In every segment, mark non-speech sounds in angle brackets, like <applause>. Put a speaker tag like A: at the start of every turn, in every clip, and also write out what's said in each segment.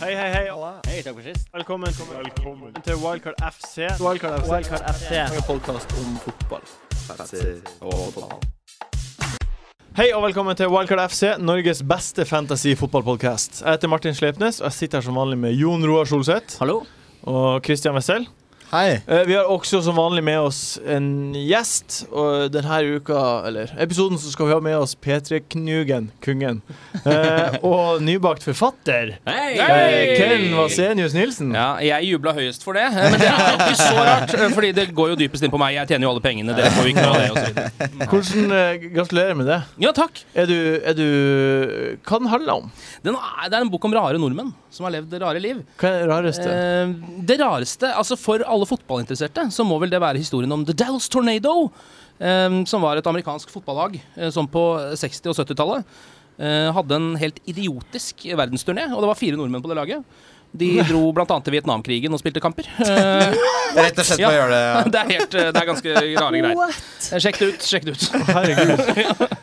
A: Hei, hei, hei. Hei, takk for sist. Velkommen, til Wildcard FC. Wildcard FC.
B: En podkast om fotball.
A: Hei og velkommen til Wildcard FC, Norges beste fantasy-fotballpodkast. Jeg heter Martin Sleipnes, og jeg sitter her som vanlig med Jon Roar Solseth
C: Hallo.
A: og Christian Wessel.
B: Hei.
A: Eh, Vi har også som vanlig med oss en gjest, og denne uka, eller episoden, så skal vi ha med oss P3 Knugen, kungen, eh, og nybakt forfatter.
C: Hei!
A: eh, Ken Vasenius Nilsen.
C: Ja, jeg jubla høyest for det, men det er jo ikke så rart. eh, Fordi det går jo dypest inn på meg. Jeg tjener jo alle pengene. Dere får jo ikke noe av det. Og så videre.
A: Hvordan eh, Gratulerer med det.
C: ja, takk.
A: Er du, er du Hva den handler om?
C: Den er, det er en bok om rare nordmenn som har levd rare liv.
A: Hva er det rareste?
C: Eh, det rareste, altså for alle fotballinteresserte, så må vel det være historien om The Dallas Tornado. eh, som var et amerikansk fotballag eh, som på 60- og 70-tallet eh, hadde en helt idiotisk verdensturné. Og det var fire nordmenn på det laget.
A: <laughs>
C: De dro bl.a. til Vietnamkrigen og spilte kamper. Eh,
B: Rett og slett
C: Ja.
B: bare gjør det.
C: <laughs> det, er helt, eh, det er ganske rare greier. Eh, Sjekk det ut. sjekk det ut
A: Herregud.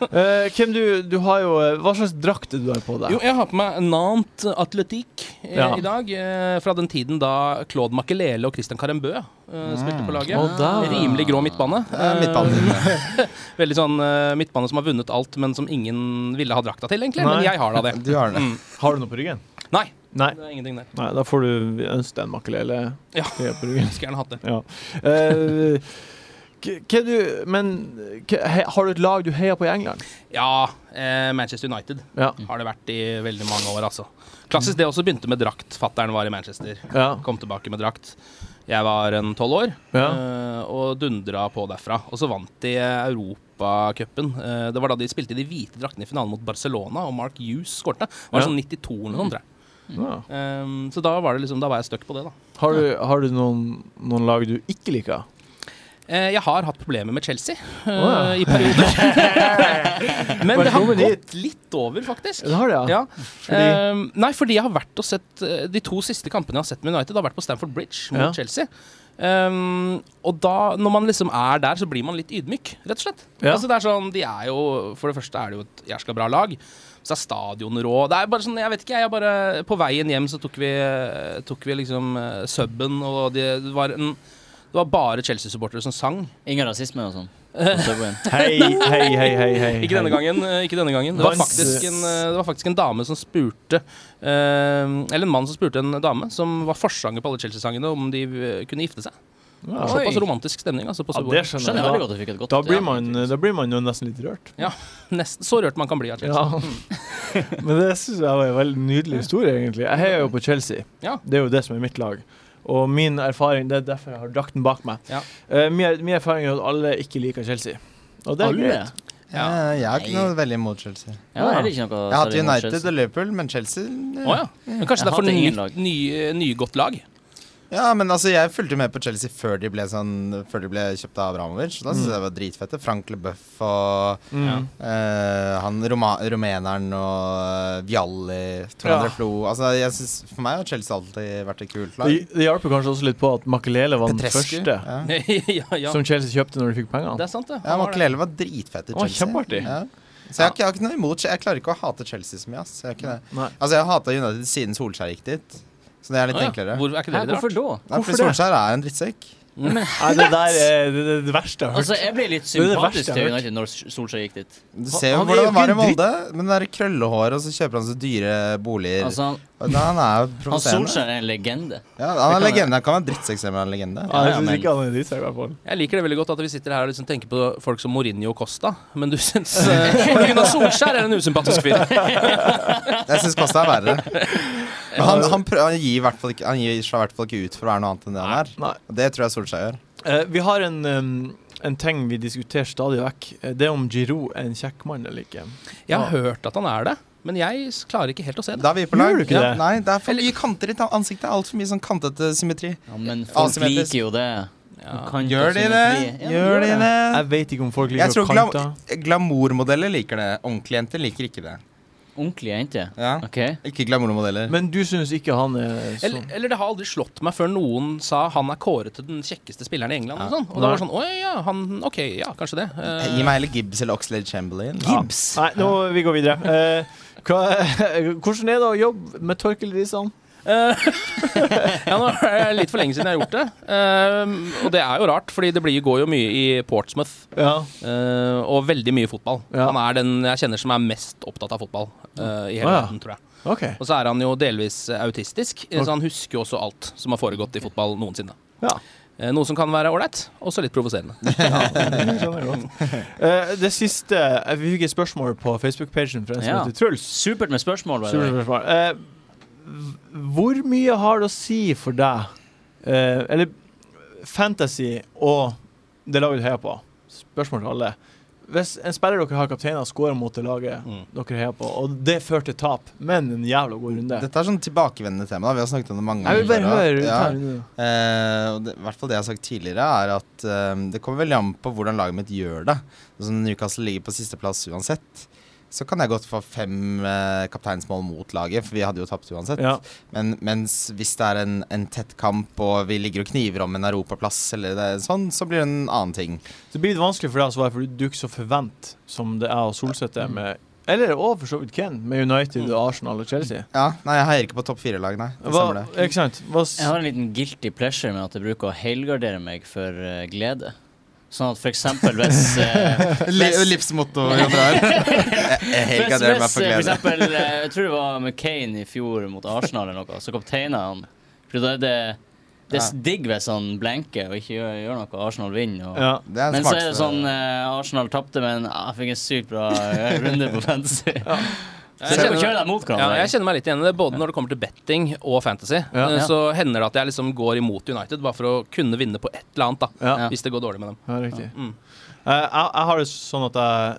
A: Eh, Kim, du, du har jo eh, Hva slags drakt er det du har på deg?
C: <laughs> Jo, jeg har på meg Nant Atletique eh,
A: Ja.
C: i dag. Eh, fra den tiden da Claude Makelele og Christian Carembø eh, spilte på laget.
A: Å, da.
C: Rimelig grå midtbane.
B: Ja, midtbanen.
C: Eh, veldig sånn eh, midtbane som har vunnet alt, men som ingen ville ha drakta til, egentlig.
A: Nei.
C: Men jeg har <laughs> da det.
B: <laughs>
C: Mm.
B: Du har den.
A: Har du noe på ryggen?
C: Nei.
A: Nei.
C: Det er ingenting der.
A: Nei da får du ønske deg en makelele
C: Ja.
A: greie på ryggen.
C: Skulle gjerne hatt det.
A: Ja. Eh, k- hva du, men k- he, har du et lag du heier på i England?
C: Ja, eh, Manchester United
A: Ja.
C: har det vært i veldig mange år, altså. Klassisk det også begynte med drakt. Fattern var i Manchester.
A: Ja.
C: Kom tilbake med drakt. Jeg var en tolv år
A: Ja.
C: eh, og dundra på derfra. Og så vant de eh, Europacupen. Eh, det var da de spilte i de hvite draktene i finalen mot Barcelona, og Mark Hughes skårte. Det var
A: Ja.
C: sånn 92 eller noe sånt, tror jeg.
A: Ja.
C: Eh, så da var, det liksom, da var jeg stuck på det, da.
A: Har du, har du noen, noen lag du ikke liker?
C: Eh, jeg har hatt problemer med Chelsea eh,
A: Å, ja. <laughs>
C: i perioder. Men det har
A: Velkommen hit.
C: gått litt over, faktisk.
A: Det har du, ja?
C: Ja. Eh, nei, fordi jeg har vært og sett eh, De to siste kampene jeg har sett med United, har vært på Stamford Bridge mot
A: Ja.
C: Chelsea. Um, og da, når man liksom er der, så blir man litt ydmyk, rett og slett.
A: Ja.
C: Altså det er sånn, de er jo, For det første er det jo et jæskla bra lag. Så er stadion rå. Det er bare sånn, jeg vet ikke, jeg er bare På veien hjem så tok vi, tok vi liksom eh, subben, og det var en det var bare Chelsea-supportere som sang.
D: Ingen rasisme og sånn. på Subwayen.
A: Hei, hei, hei, hei. hei.
C: Ikke denne gangen. eh, Ikke denne gangen. Det var
A: Vans-
C: faktisk en, eh, det var faktisk en dame som spurte eh, Eller en mann som spurte en dame som var forsanger på alle Chelsea-sangene, om de eh, kunne gifte seg.
A: Ja.
C: Såpass romantisk stemning. Altså, på
A: Ja,
C: Subway.
A: det skjønner
D: Skjønner
A: jeg. Da,
D: veldig godt at du fikk et godt
A: da, blir man, eh, da blir man jo nesten litt rørt.
C: Nesten så rørt man kan bli av Chelsea.
A: Ja. <laughs> Men det syns jeg var en veldig nydelig historie, egentlig. Jeg heier jo på Chelsea.
C: Ja.
A: Det er jo det som er mitt lag. Og min erfaring Det er derfor jeg har drakten bak meg.
C: Ja.
A: Eh, min, min erfaring er at alle ikke liker Chelsea. Og det er
D: Alle?
A: greit.
C: Ja.
B: Eh, Jeg har ikke noe veldig imot Chelsea. Jeg
D: Ja, det er ikke noe
B: har hatt
D: særlig imot
B: United
D: Chelsea.
B: og Liverpool, men Chelsea eh.
C: Å ja. Men kanskje
D: Jeg
C: det er for
D: hater ingen
C: nygodt
D: lag.
C: ny, ny, nygodt lag?
B: Ja, men altså, jeg fulgte med på Chelsea før de ble, sånn, før de ble kjøpt av Abramovic. Så da syntes jeg det var dritfette. Frank LeBuff og
A: Mm.
C: Ja.
B: eh, han roma rumeneren og eh, Vialli, Trondre
A: Ja.
B: Flo Altså, jeg synes, For meg har Chelsea alltid vært et kult
A: Det,
B: lag.
A: det hjalp jo kanskje også litt på at Makelele var den første
B: Ja.
C: <laughs> ja, ja.
A: som Chelsea kjøpte når de fikk pengene.
C: Det er sant, det.
B: Ja,
C: Han var det.
B: Makelele var dritfett i
A: Å,
B: Chelsea.
A: kjempeartig.
B: Ja. Så jeg har, ikke, jeg har ikke noe imot Jeg klarer ikke å hate Chelsea så mye. Ass. Jeg, har ikke det.
A: Nei.
B: altså, jeg har hata United siden Solskjær gikk dit, så det er litt
C: Å ja.
B: enklere.
C: Hvor, er ikke
D: Hæ,
C: det litt
D: hvorfor
C: rart?
D: da?
B: Nei,
A: hvorfor
B: fordi
A: det?
B: Solskjær er en drittsekk.
A: Nei, det der er det, det, er det verste jeg har hørt.
D: Altså, jeg blir
A: er
D: litt
A: det
D: sympatisk
A: verste jeg
D: til
A: har hørt.
D: United når Solskjær gikk dit.
B: Du
A: Han-
B: ser jo
A: han er jo
B: hvordan han var i
A: ikke en
B: Molde, men det er krøllehår, og så kjøper han så dyre boliger.
D: Altså, han,
B: Og da, han er jo
D: han
B: provoserende.
D: Solskjær er en legende.
B: Ja, han er
D: Det kan
B: legende. Han kan være drittsekk selv om han er legende.
A: ja, jeg
D: ja,
A: syns
D: men-
A: ikke han er drittsekk, i hvert fall.
C: Jeg liker det veldig godt at vi sitter her og liksom tenker på folk som Mourinho og Costa, men du syns eh, Gunnar Solskjær er en usympatisk fyr.
B: Jeg syns Kosta er verre. Men han, han, prø- han gir i hvert fall ikke, han gir seg i hvert fall ikke ut for å være noe annet enn det han er.
A: Nei.
B: Og det tror jeg Solskjær gjør.
A: Eh, vi har en, em, en ting vi diskuterer stadig vekk. Eh, Det er om Giroud er en kjekk mann eller ikke.
C: Jeg har hørt at han er det, men jeg s- klarer ikke helt å se det.
B: Da er vi på lag.
A: Gjør du ikke
B: Ja,
A: det?
B: Nei, det er for mye kanter i ta- ansiktet. Altfor mye sånn kantete symmetri.
D: Ja, men folk
B: Asymmetrisk.
D: liker jo det.
C: Ja.
D: Kan
B: Gjør
D: ta
B: de det?
D: symmetri. Ja,
B: Gjør de det?
A: Jeg vet ikke om folk
B: Jeg
A: liker
B: tror glam
A: kanter.
B: glamourmodeller liker det. Ordentlige jenter liker ikke det.
D: Ordentlige jenter.
B: Ja.
D: OK.
B: Ikke glamourmodeller.
A: Men du syns ikke han er
C: Eller,
A: sånn?
C: eller det har aldri slått meg før noen sa han er kåret til den kjekkeste spilleren i England. Og,
B: Ja.
C: sånn. og da var det sånn Å ja, han Ok, ja, kanskje det. Eh,
B: Gi meg heller Gibbs eller Oxlade Chamberlain.
A: Gibbs? <laughs> Nei, nå vi går videre. Eh, hva, hvordan er det å jobbe med Torkel Risan?
C: <laughs> Eh, ja, nå er det litt for lenge siden jeg har gjort det. Eh, og det er jo rart, fordi det blir, går jo mye i Portsmouth.
A: Ja.
C: eh, og veldig mye fotball.
A: Ja.
C: Han er den jeg kjenner som er mest opptatt av fotball eh, i hele
A: Å, ja.
C: verden, tror jeg.
A: OK.
C: Og så er han jo delvis eh, autistisk, eh,
A: Ok.
C: så han husker jo også alt som har foregått i fotball noensinne.
A: Ja.
C: Eh, Noe som kan være ålreit, også litt provoserende.
A: Jeg skjønner godt. Eh, det siste eh, Vi fikk et spørsmål på Facebook-pagen fra en som
D: Ja.
A: heter Truls.
D: Supert med spørsmål. by the way.
A: Superspørsmål. Eh, v- hvor mye har det å si for deg eh, Eller fantasy og det laget du heier på? Spørsmål til alle. Hvis en spiller dere har kapteiner, scorer mot det laget
C: Mm.
A: dere heier på, og det fører til tap, men en jævla god runde
B: Dette er sånn tilbakevendende tema. da Vi har snakket om det mange
A: Jeg vil bare
B: før, da.
A: høre.
B: Ja.
A: ta en runde.
B: Eh, og det, I hvert fall det jeg har sagt tidligere, er at eh, det kommer veldig an på hvordan laget mitt gjør det. Altså, når Newcastle ligger på sisteplass uansett, så kan jeg godt få fem eh, kapteinsmål mot laget, for vi hadde jo tapt uansett.
A: Ja.
B: Men mens hvis det er en, en tett kamp, og vi ligger og kniver om en europaplass, eller det, er sånn, så blir det en annen ting.
A: Så blir det vanskelig for deg å svare, for du er ikke så forvent som det er å solsette med Eller og for så vidt Ken, med United, og Arsenal og Chelsea.
B: Ja, Nei, jeg heier ikke på topp fire-lag, nei. Mm. Det
A: Hva,
B: stemmer det.
A: ikke sant? Hva, s-
D: Jeg har en liten guilty pleasure med at jeg bruker å helgardere meg for eh, glede. Sånn at for eksempel hvis eh,
B: Li
D: hvis-
B: Livsmotto. Jon Roar. Jeg- jeg
D: Hvis,
B: helga
D: hvis
B: dere
D: eh,
B: meg for
D: for
B: glede.
D: eksempel, eh, jeg tror det var McCain i fjor mot Arsenal eller noe, så kapteina han. For da er det, det er s- digg hvis han blenker og ikke gjør, gjør noe, Arsenal vinner. Og,
A: ja.
B: Det er
D: Men så er det
B: smarteste.
D: sånn eh, Arsenal tapte, men ah, jeg fikk en sykt bra eh, runde på
B: <laughs>
D: fantasy. Så
C: Jeg
D: jeg må
C: kjenner-
D: kjøre deg mot
C: Ja, jeg
D: hverandre.
C: kjenner meg litt igjen i det, både når det kommer til betting og fantasy.
A: Ja.
C: Eh, Så hender det at jeg liksom går imot United, bare for å kunne vinne på et eller annet, da.
A: Ja.
D: Ja.
C: Hvis det går dårlig med dem.
A: Ja, riktig.
C: Mm.
A: Eh, jeg, jeg har det sånn at jeg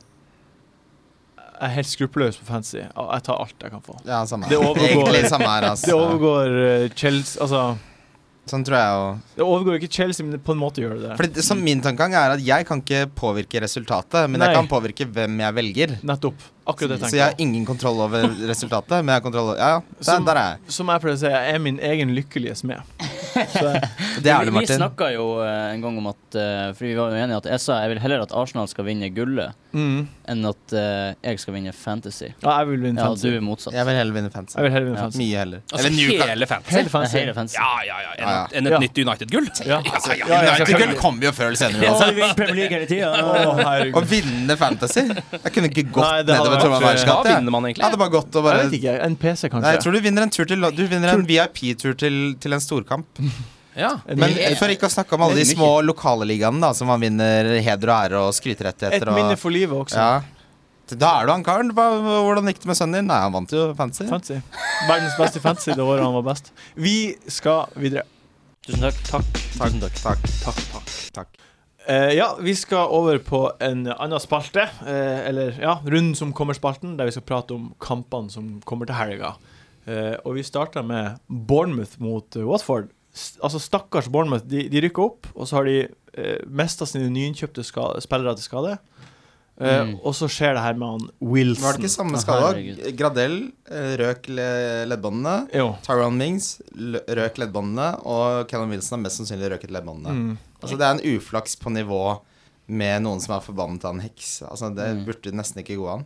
A: jeg er helt skruppelløs på fantasy. Jeg- Jeg tar alt jeg kan få.
B: Ja, samme
A: Det
B: her.
A: overgår-
B: Egentlig samme
A: <laughs>
B: her,
A: Det
B: altså.
A: overgår eh, Chelsea Altså,
B: Sånn tror jeg jo.
A: det overgår ikke Chelsea, men på en måte gjør det det.
B: Fordi det, som Min tankegang er at jeg kan ikke påvirke resultatet, men
A: Nei.
B: jeg kan påvirke hvem jeg velger.
A: Nettopp. Akkurat det jeg
B: Så jeg har
A: tenker.
B: ingen kontroll over resultatet, men jeg har kontroll over Ja, ja, der,
A: Som-
B: der er jeg.
A: Som jeg pleier å si, jeg er min egen lykkelige smed. Så jeg-
B: Det er du,
D: vi vi
B: Martin.
D: snakka jo eh, en gang om at eh, Fordi vi var jo enige at jeg sa jeg vil heller at Arsenal skal vinne gullet
A: <laughs> mm.
D: enn at eh, jeg skal vinne fantasy.
A: Ja, jeg vil vinne
D: Ja, du
A: fantasy.
D: er motsatt.
B: Jeg vil heller vinne fantasy.
A: Jeg vil heller vinne
D: Ja.
A: fantasy.
B: Mye heller.
C: Altså hele fantasy.
A: Hele
D: Nei,
A: fantasy.
D: hele fantasy.
C: Ja, ja, ja. Enn
B: Ja,
C: et, enn et
A: Ja.
C: nytt United-gull? Altså,
A: Ja.
C: ja, ja,
A: ja,
B: United Gull kommer jo før eller senere
D: Ja,
B: uansett.
D: vi vinner Premier League hele
A: Å,
D: tida.
B: Å
A: herregud.
B: vinne fantasy? Jeg kunne ikke gått
A: Nei, det hadde vært- eh,
B: nedover Trondheim
C: Hva
B: Verdenskatt. Jeg
C: vinner man
B: Jeg hadde
C: egentlig?
B: bare gått
A: <laughs>
B: og
A: Jeg
B: bare
A: vet ikke. En PC, kanskje.
B: Nei, jeg tror du vinner en tur til Du vinner en VIP-tur til, til en storkamp.
C: Ja.
A: En-
B: Men
A: et,
B: for ikke å snakke om alle de små lokale ligaene da, som man vinner heder og ære og skryterettigheter og
A: minne for livet også.
B: Ja. Da er du han karen. Hva- Hvordan gikk det med sønnen din? Nei, han vant jo fancy.
A: Fantasy. Verdens beste fantasy det året han var best. Vi skal videre.
D: Tusen takk. Takk. Tusen takk.
B: Takk, takk, takk.
A: Eh, ja, vi skal over på en annen spalte. eh, eller ja, Runden som kommer-spalten, der vi skal prate om kampene som kommer til helga. Eh, og vi starter med Bournemouth mot eh, Watford. S altså Stakkars Bournemouth. De, de rykker opp, og så har de uh, mista sine nyinnkjøpte ska- spillere til skade. Eh,
D: Mm.
A: Og så skjer det her med han
B: Var det
A: Wilson.
B: ikke samme
D: Å,
B: skada?
D: herregud.
B: Gradell eh, røk le- leddbåndene.
A: Jo.
B: Tyrone Mings l- røk leddbåndene, og Callum Wilson har mest sannsynlig røket leddbåndene.
A: Mm.
B: Altså, det er en uflaks på nivå med noen som er forbannet av en heks. Altså, det
D: Mm.
B: burde nesten ikke gå an.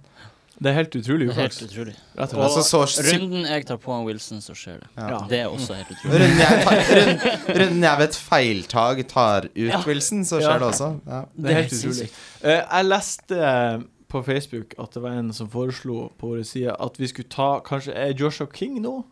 A: Det er helt utrolig uflaks.
D: Helt utrolig.
A: Rett og
D: Og-
A: slett.
B: Altså, så sykt
D: Runden jeg tar på han Wilson, så skjer det.
B: ja.
A: Ja.
D: Det er også helt utrolig.
B: Runden jeg, tar,
D: <laughs>
B: runden, runden jeg ved et feiltag tar ut
D: Ja.
B: Wilson, så
A: Ja.
B: skjer det også. Ja.
A: Det er helt utrolig. Eh, jeg leste eh, på Facebook at det var en som foreslo på vår side at vi skulle ta Kanskje er Joshua King nå?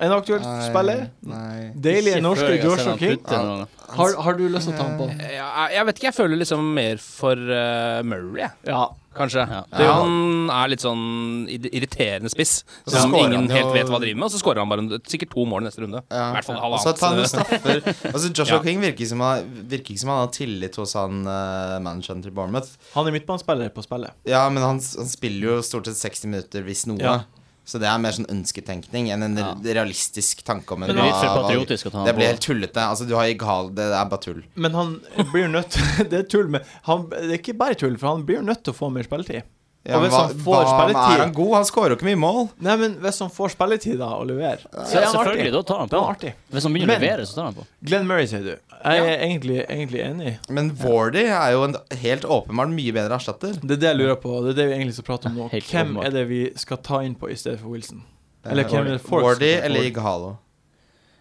A: En aktuell spiller?
B: Nei.
A: Deilige
D: Ikke før
A: norske
D: jeg har sett
A: Joshua
D: han Eh,
A: King.
D: putte noe.
A: Har, har du lyst til å ta han på?
C: Jeg, jeg vet ikke, jeg føler liksom mer for eh, Murray, jeg.
A: Ja.
C: Kanskje.
D: Ja.
C: Det er jo- han er litt sånn ir- irriterende spiss.
B: Og så
C: Som
B: scorer
C: ingen
B: han jo-
C: helt vet hva driver med, og så skårer han bare en- sikkert to mål i neste runde.
B: Ja.
C: I hvert fall
B: Og så tar han noen
C: halvannet.
B: straffer.
D: <laughs>
B: Altså Joshua
C: Ja.
B: King virker som han, virker ikke som han har tillit hos han uh, manageren til Bournemouth.
A: Han er midtbanespiller på spillet.
B: Ja, men han, s- han spiller jo stort sett 60 minutter, hvis noe.
A: Ja.
B: Så det er mer sånn ønsketenkning enn en
D: Ja.
B: realistisk tanke om en
D: Men det er litt for
B: bra valg.
D: patriotisk å ta han
B: Det blir
D: på.
B: helt tullete. Altså, du har Igal, det er bare tull.
A: Men han blir jo nødt <laughs> Det er tull, men han, det er ikke bare tull, for han blir jo nødt til å få mer spilletid.
B: Ja,
A: Og
B: men
A: hvis han får spilletid-
B: er han god? Han scorer jo ikke mye mål.
A: Nei, men hvis han får spilletid, da, og leverer, så
D: Ja,
A: er han
D: selvfølgelig,
A: artig.
D: da tar han
A: Da
D: på.
A: er han
D: han.
A: artig.
D: Hvis han begynner å
A: Men-
D: levere, så tar han på.
A: Glenn Murray, sier du. Jeg er egentlig, egentlig enig.
B: Men Wardy er jo en helt åpenbart mye bedre erstatter.
A: Det er det jeg lurer på, og det er det vi egentlig skal prate om nå.
D: Helt
A: Hvem
D: åpenbart.
A: er det vi skal ta inn på i stedet for Wilson? Eller
B: Eh,
A: hvem er det folk som
B: Wardy
A: skal ta
B: eller
A: Wardy?
B: Igalo?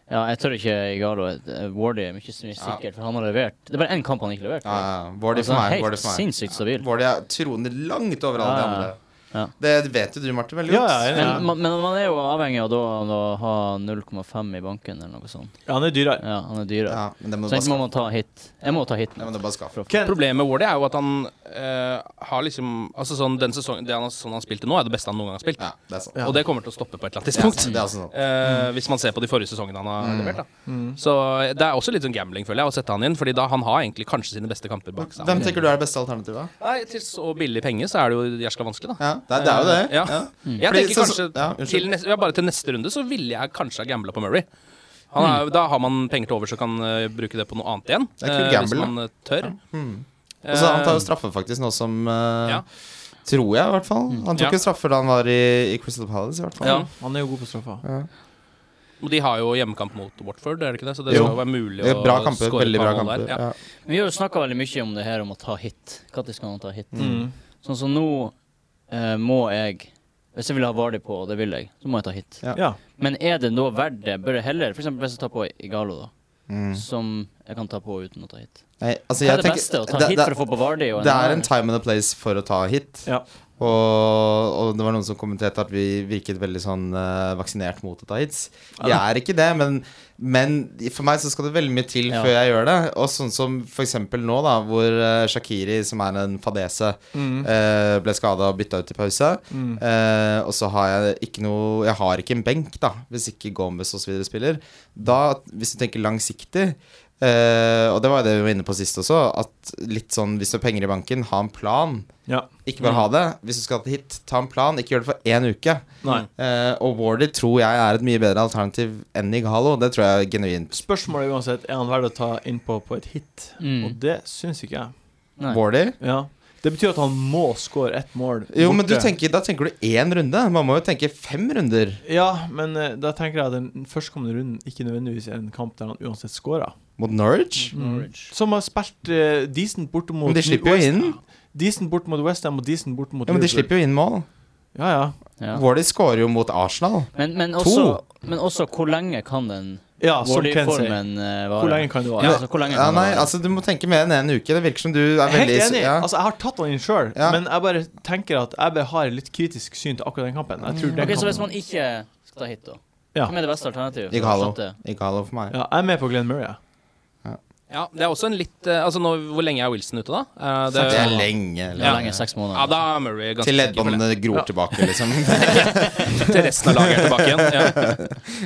D: Ja, jeg tør ikke Igalo. Eh, Wardy er mye mer sikkert, for han har levert. Det er bare én kamp han ikke leverte.
B: Ja, ja. Vardy
D: Altså,
B: for meg.
D: helt
B: Vardy for meg.
D: sinnssykt stabil.
B: Vardy er- troner langt over alle
D: Ja,
B: de
D: ja.
B: andre.
D: Ja.
B: Det vet jo du, Martin, veldig
A: Ja,
B: godt.
A: ja, ja.
D: Men, man- men man er jo avhengig av da å ha 0,5 i banken eller noe sånt.
A: Ja, han er dyrere.
D: Ja, han er dyrere.
B: Ja, men det må du
D: Så
B: bare
D: enten må
B: skaffe.
D: man ta hit. Jeg må ta hit.
B: Det må du bare skaffe.
A: Ken,
C: Problemet med Wardy er jo at han eh, har liksom Altså sånn den sesongen det han, har- sånn han spilte nå, er det beste han noen gang har spilt.
B: Ja, det er sant.
C: Og det kommer til å stoppe på et eller annet
B: Det er
C: tidspunkt.
B: sant, Mm. det er altså sånn. også sant.
C: Eh, hvis man ser på de forrige sesongene han har levert. Da. Så det er også litt sånn gambling, føler jeg, å sette han inn. Fordi da han har egentlig kanskje sine beste kamper bak seg.
B: Hvem tenker du er det beste alternativet?
C: Nei, til så billig penge så er det jo jæskla vanskelig, da.
B: Ja, det er, det er
A: Eh,
B: jo det.
C: Ja.
D: Mm.
C: Jeg
B: Fordi
C: tenker
B: så-
C: kanskje
B: ja, unnskyld.
C: til neste, ja, Bare til neste runde så ville jeg kanskje ha gambla på Murray. Han er, Da har man penger til over så kan eh, bruke det på noe annet igjen.
B: Mm. Det er kul
C: eh,
B: gamble, Mm.
C: hvis man eh, tør.
B: Og så Han tar jo straffe, faktisk, nå som eh,
C: Eh, Ja.
B: Tror jeg, i hvert fall. Han tok
C: Ja.
B: en straffe da han var i, i Crystal Palace, i hvert fall.
C: Ja.
A: han er jo god på straffa.
C: Og de har jo hjemmekamp mot Watford, er det ikke det? Så det
B: Jo.
C: skal jo være mulig
B: Det er
C: å
B: Bra kamper.
C: score et
B: Veldig
C: par
B: bra
C: mål
B: kamper.
C: der. Ja.
B: Ja.
D: Vi har jo snakka veldig mye om det her om å ta hit. Når skal man ta hit?
A: Mm.
D: Sånn som nå eh, må jeg Hvis jeg vil ha Vardy på, og det vil jeg, så må jeg ta hit.
B: Ja.
A: Ja.
D: Men er det da verdt det? Bør jeg heller f.eks. hvis jeg tar på Igalo, da,
B: Mm.
D: som jeg kan ta på uten å ta hit?
B: Nei, altså,
D: Hva
B: jeg
D: er det
B: tenker-
D: beste? Å ta
B: det-
D: hit
B: det-
D: for å få på Vardy? og
B: Det er en
D: annen?
B: time and a place for å ta hit.
A: Ja.
B: Og, og det var noen som kommenterte at vi virket veldig sånn eh, vaksinert mot å ta hits. Jeg er ikke det, men, men for meg så skal det veldig mye til
D: Ja.
B: før jeg gjør det. Og sånn som for eksempel nå, da, hvor eh, Shakiri, som er en fadese,
A: Mm.
B: eh, ble skada og bytta ut i pause. Eh, og så har jeg ikke noe Jeg har ikke en benk, da, hvis ikke Gomez og så videre spiller. Da, hvis du tenker langsiktig eh, og det var jo det vi var inne på sist også. At litt sånn, Hvis du har penger i banken, ha en plan.
A: ja.
B: Ikke bare ha det. Hvis du skal hit, ta en plan. Ikke gjør det for én uke.
A: Nei.
B: Eh, og Wardy tror jeg er et mye bedre alternativ enn Igalo. Det tror jeg er genuint.
A: Spørsmålet er uansett er han verdt å ta innpå på et hit, og
D: Mm.
A: det syns ikke jeg.
D: Nei.
B: Wardy?
A: Ja. Det betyr at han må score ett mål.
B: Jo, men du
A: borte.
B: tenker, da tenker du én runde. Man må jo tenke fem runder.
A: Ja, men eh, da tenker jeg at den førstkommende runden ikke nødvendigvis er en kamp der han uansett scorer.
B: Mot Norwich?
D: Norwich.
A: Som har spilt eh, decent bort Mm. mot
B: Men de slipper jo
A: West-
B: inn.
A: Decent bort mot Westham og decent bort mot
B: Ja, men de slipper jo inn mål.
A: Ja, ja.
D: Ja.
B: Wardy scorer jo mot Arsenal.
D: Men, men, også, men også hvor lenge kan den
A: ja som Ken sier.
D: Wardy-formen eh, vare?
A: Hvor lenge kan det
D: ja,
A: vare?
D: altså, hvor lenge
B: Ja,
D: kan
B: nei,
D: det vare?
B: altså Du må tenke mer enn én uke. Det virker som du er
A: Helt
B: veldig
A: enig.
B: ja.
A: Altså, jeg har tatt han inn sjøl,
B: Ja.
A: men jeg bare tenker at jeg bare har litt kritisk syn til akkurat den kampen. Jeg
B: Mm.
A: tror den
D: Ok, Så hvis
A: kampen
D: man ikke skal ta hit, da?
A: Ja.
D: Hvem er det beste alternativet? for å
B: Igalo.
D: erstatte?
B: Igalo for meg.
A: ja, Jeg er med på Glenn Murray. jeg.
C: Ja, det er også en litt eh, Altså nå, hvor lenge er Wilson ute, da? Eh,
B: Det er
C: det,
B: lenge.
D: Det er
B: lenge.
D: lenge, seks
C: ja,
D: måneder.
C: da er Murray ganske
B: Til
C: sikker for det.
B: leddbåndene gror tilbake, liksom.
C: Til resten av laget er tilbake igjen. Ja.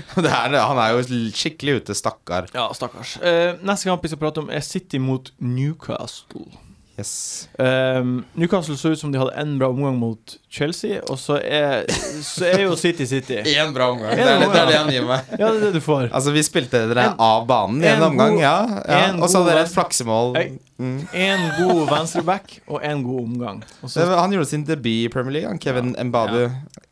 B: <laughs> det er, han er jo skikkelig ute, stakkar.
A: Ja, stakkars. Eh, neste kamp vi skal prate om, er City mot Newcastle.
B: Yes.
A: Ehm, Newcastle så ut som de hadde en bra omgang mot Chelsea, og så er, så er jo City
B: <laughs>
A: City.
B: Én bra omgang. Det
A: En
B: er det, det er
A: omgang.
B: det han gir meg.
A: Ja, det er det du får.
B: <laughs> Altså, vi spilte dere
A: En-
B: av banen i
A: en
B: en omgang,
A: god-
B: ja. ja.
A: en
B: Og
A: god
B: så hadde dere et
A: venn-
B: flaksemål.
A: Ei.
B: Mm.
A: En god venstreback og en god omgang. Og
B: Det
A: så
B: var- Han gjorde sin debut i Premier League, han Kevin Mbabu.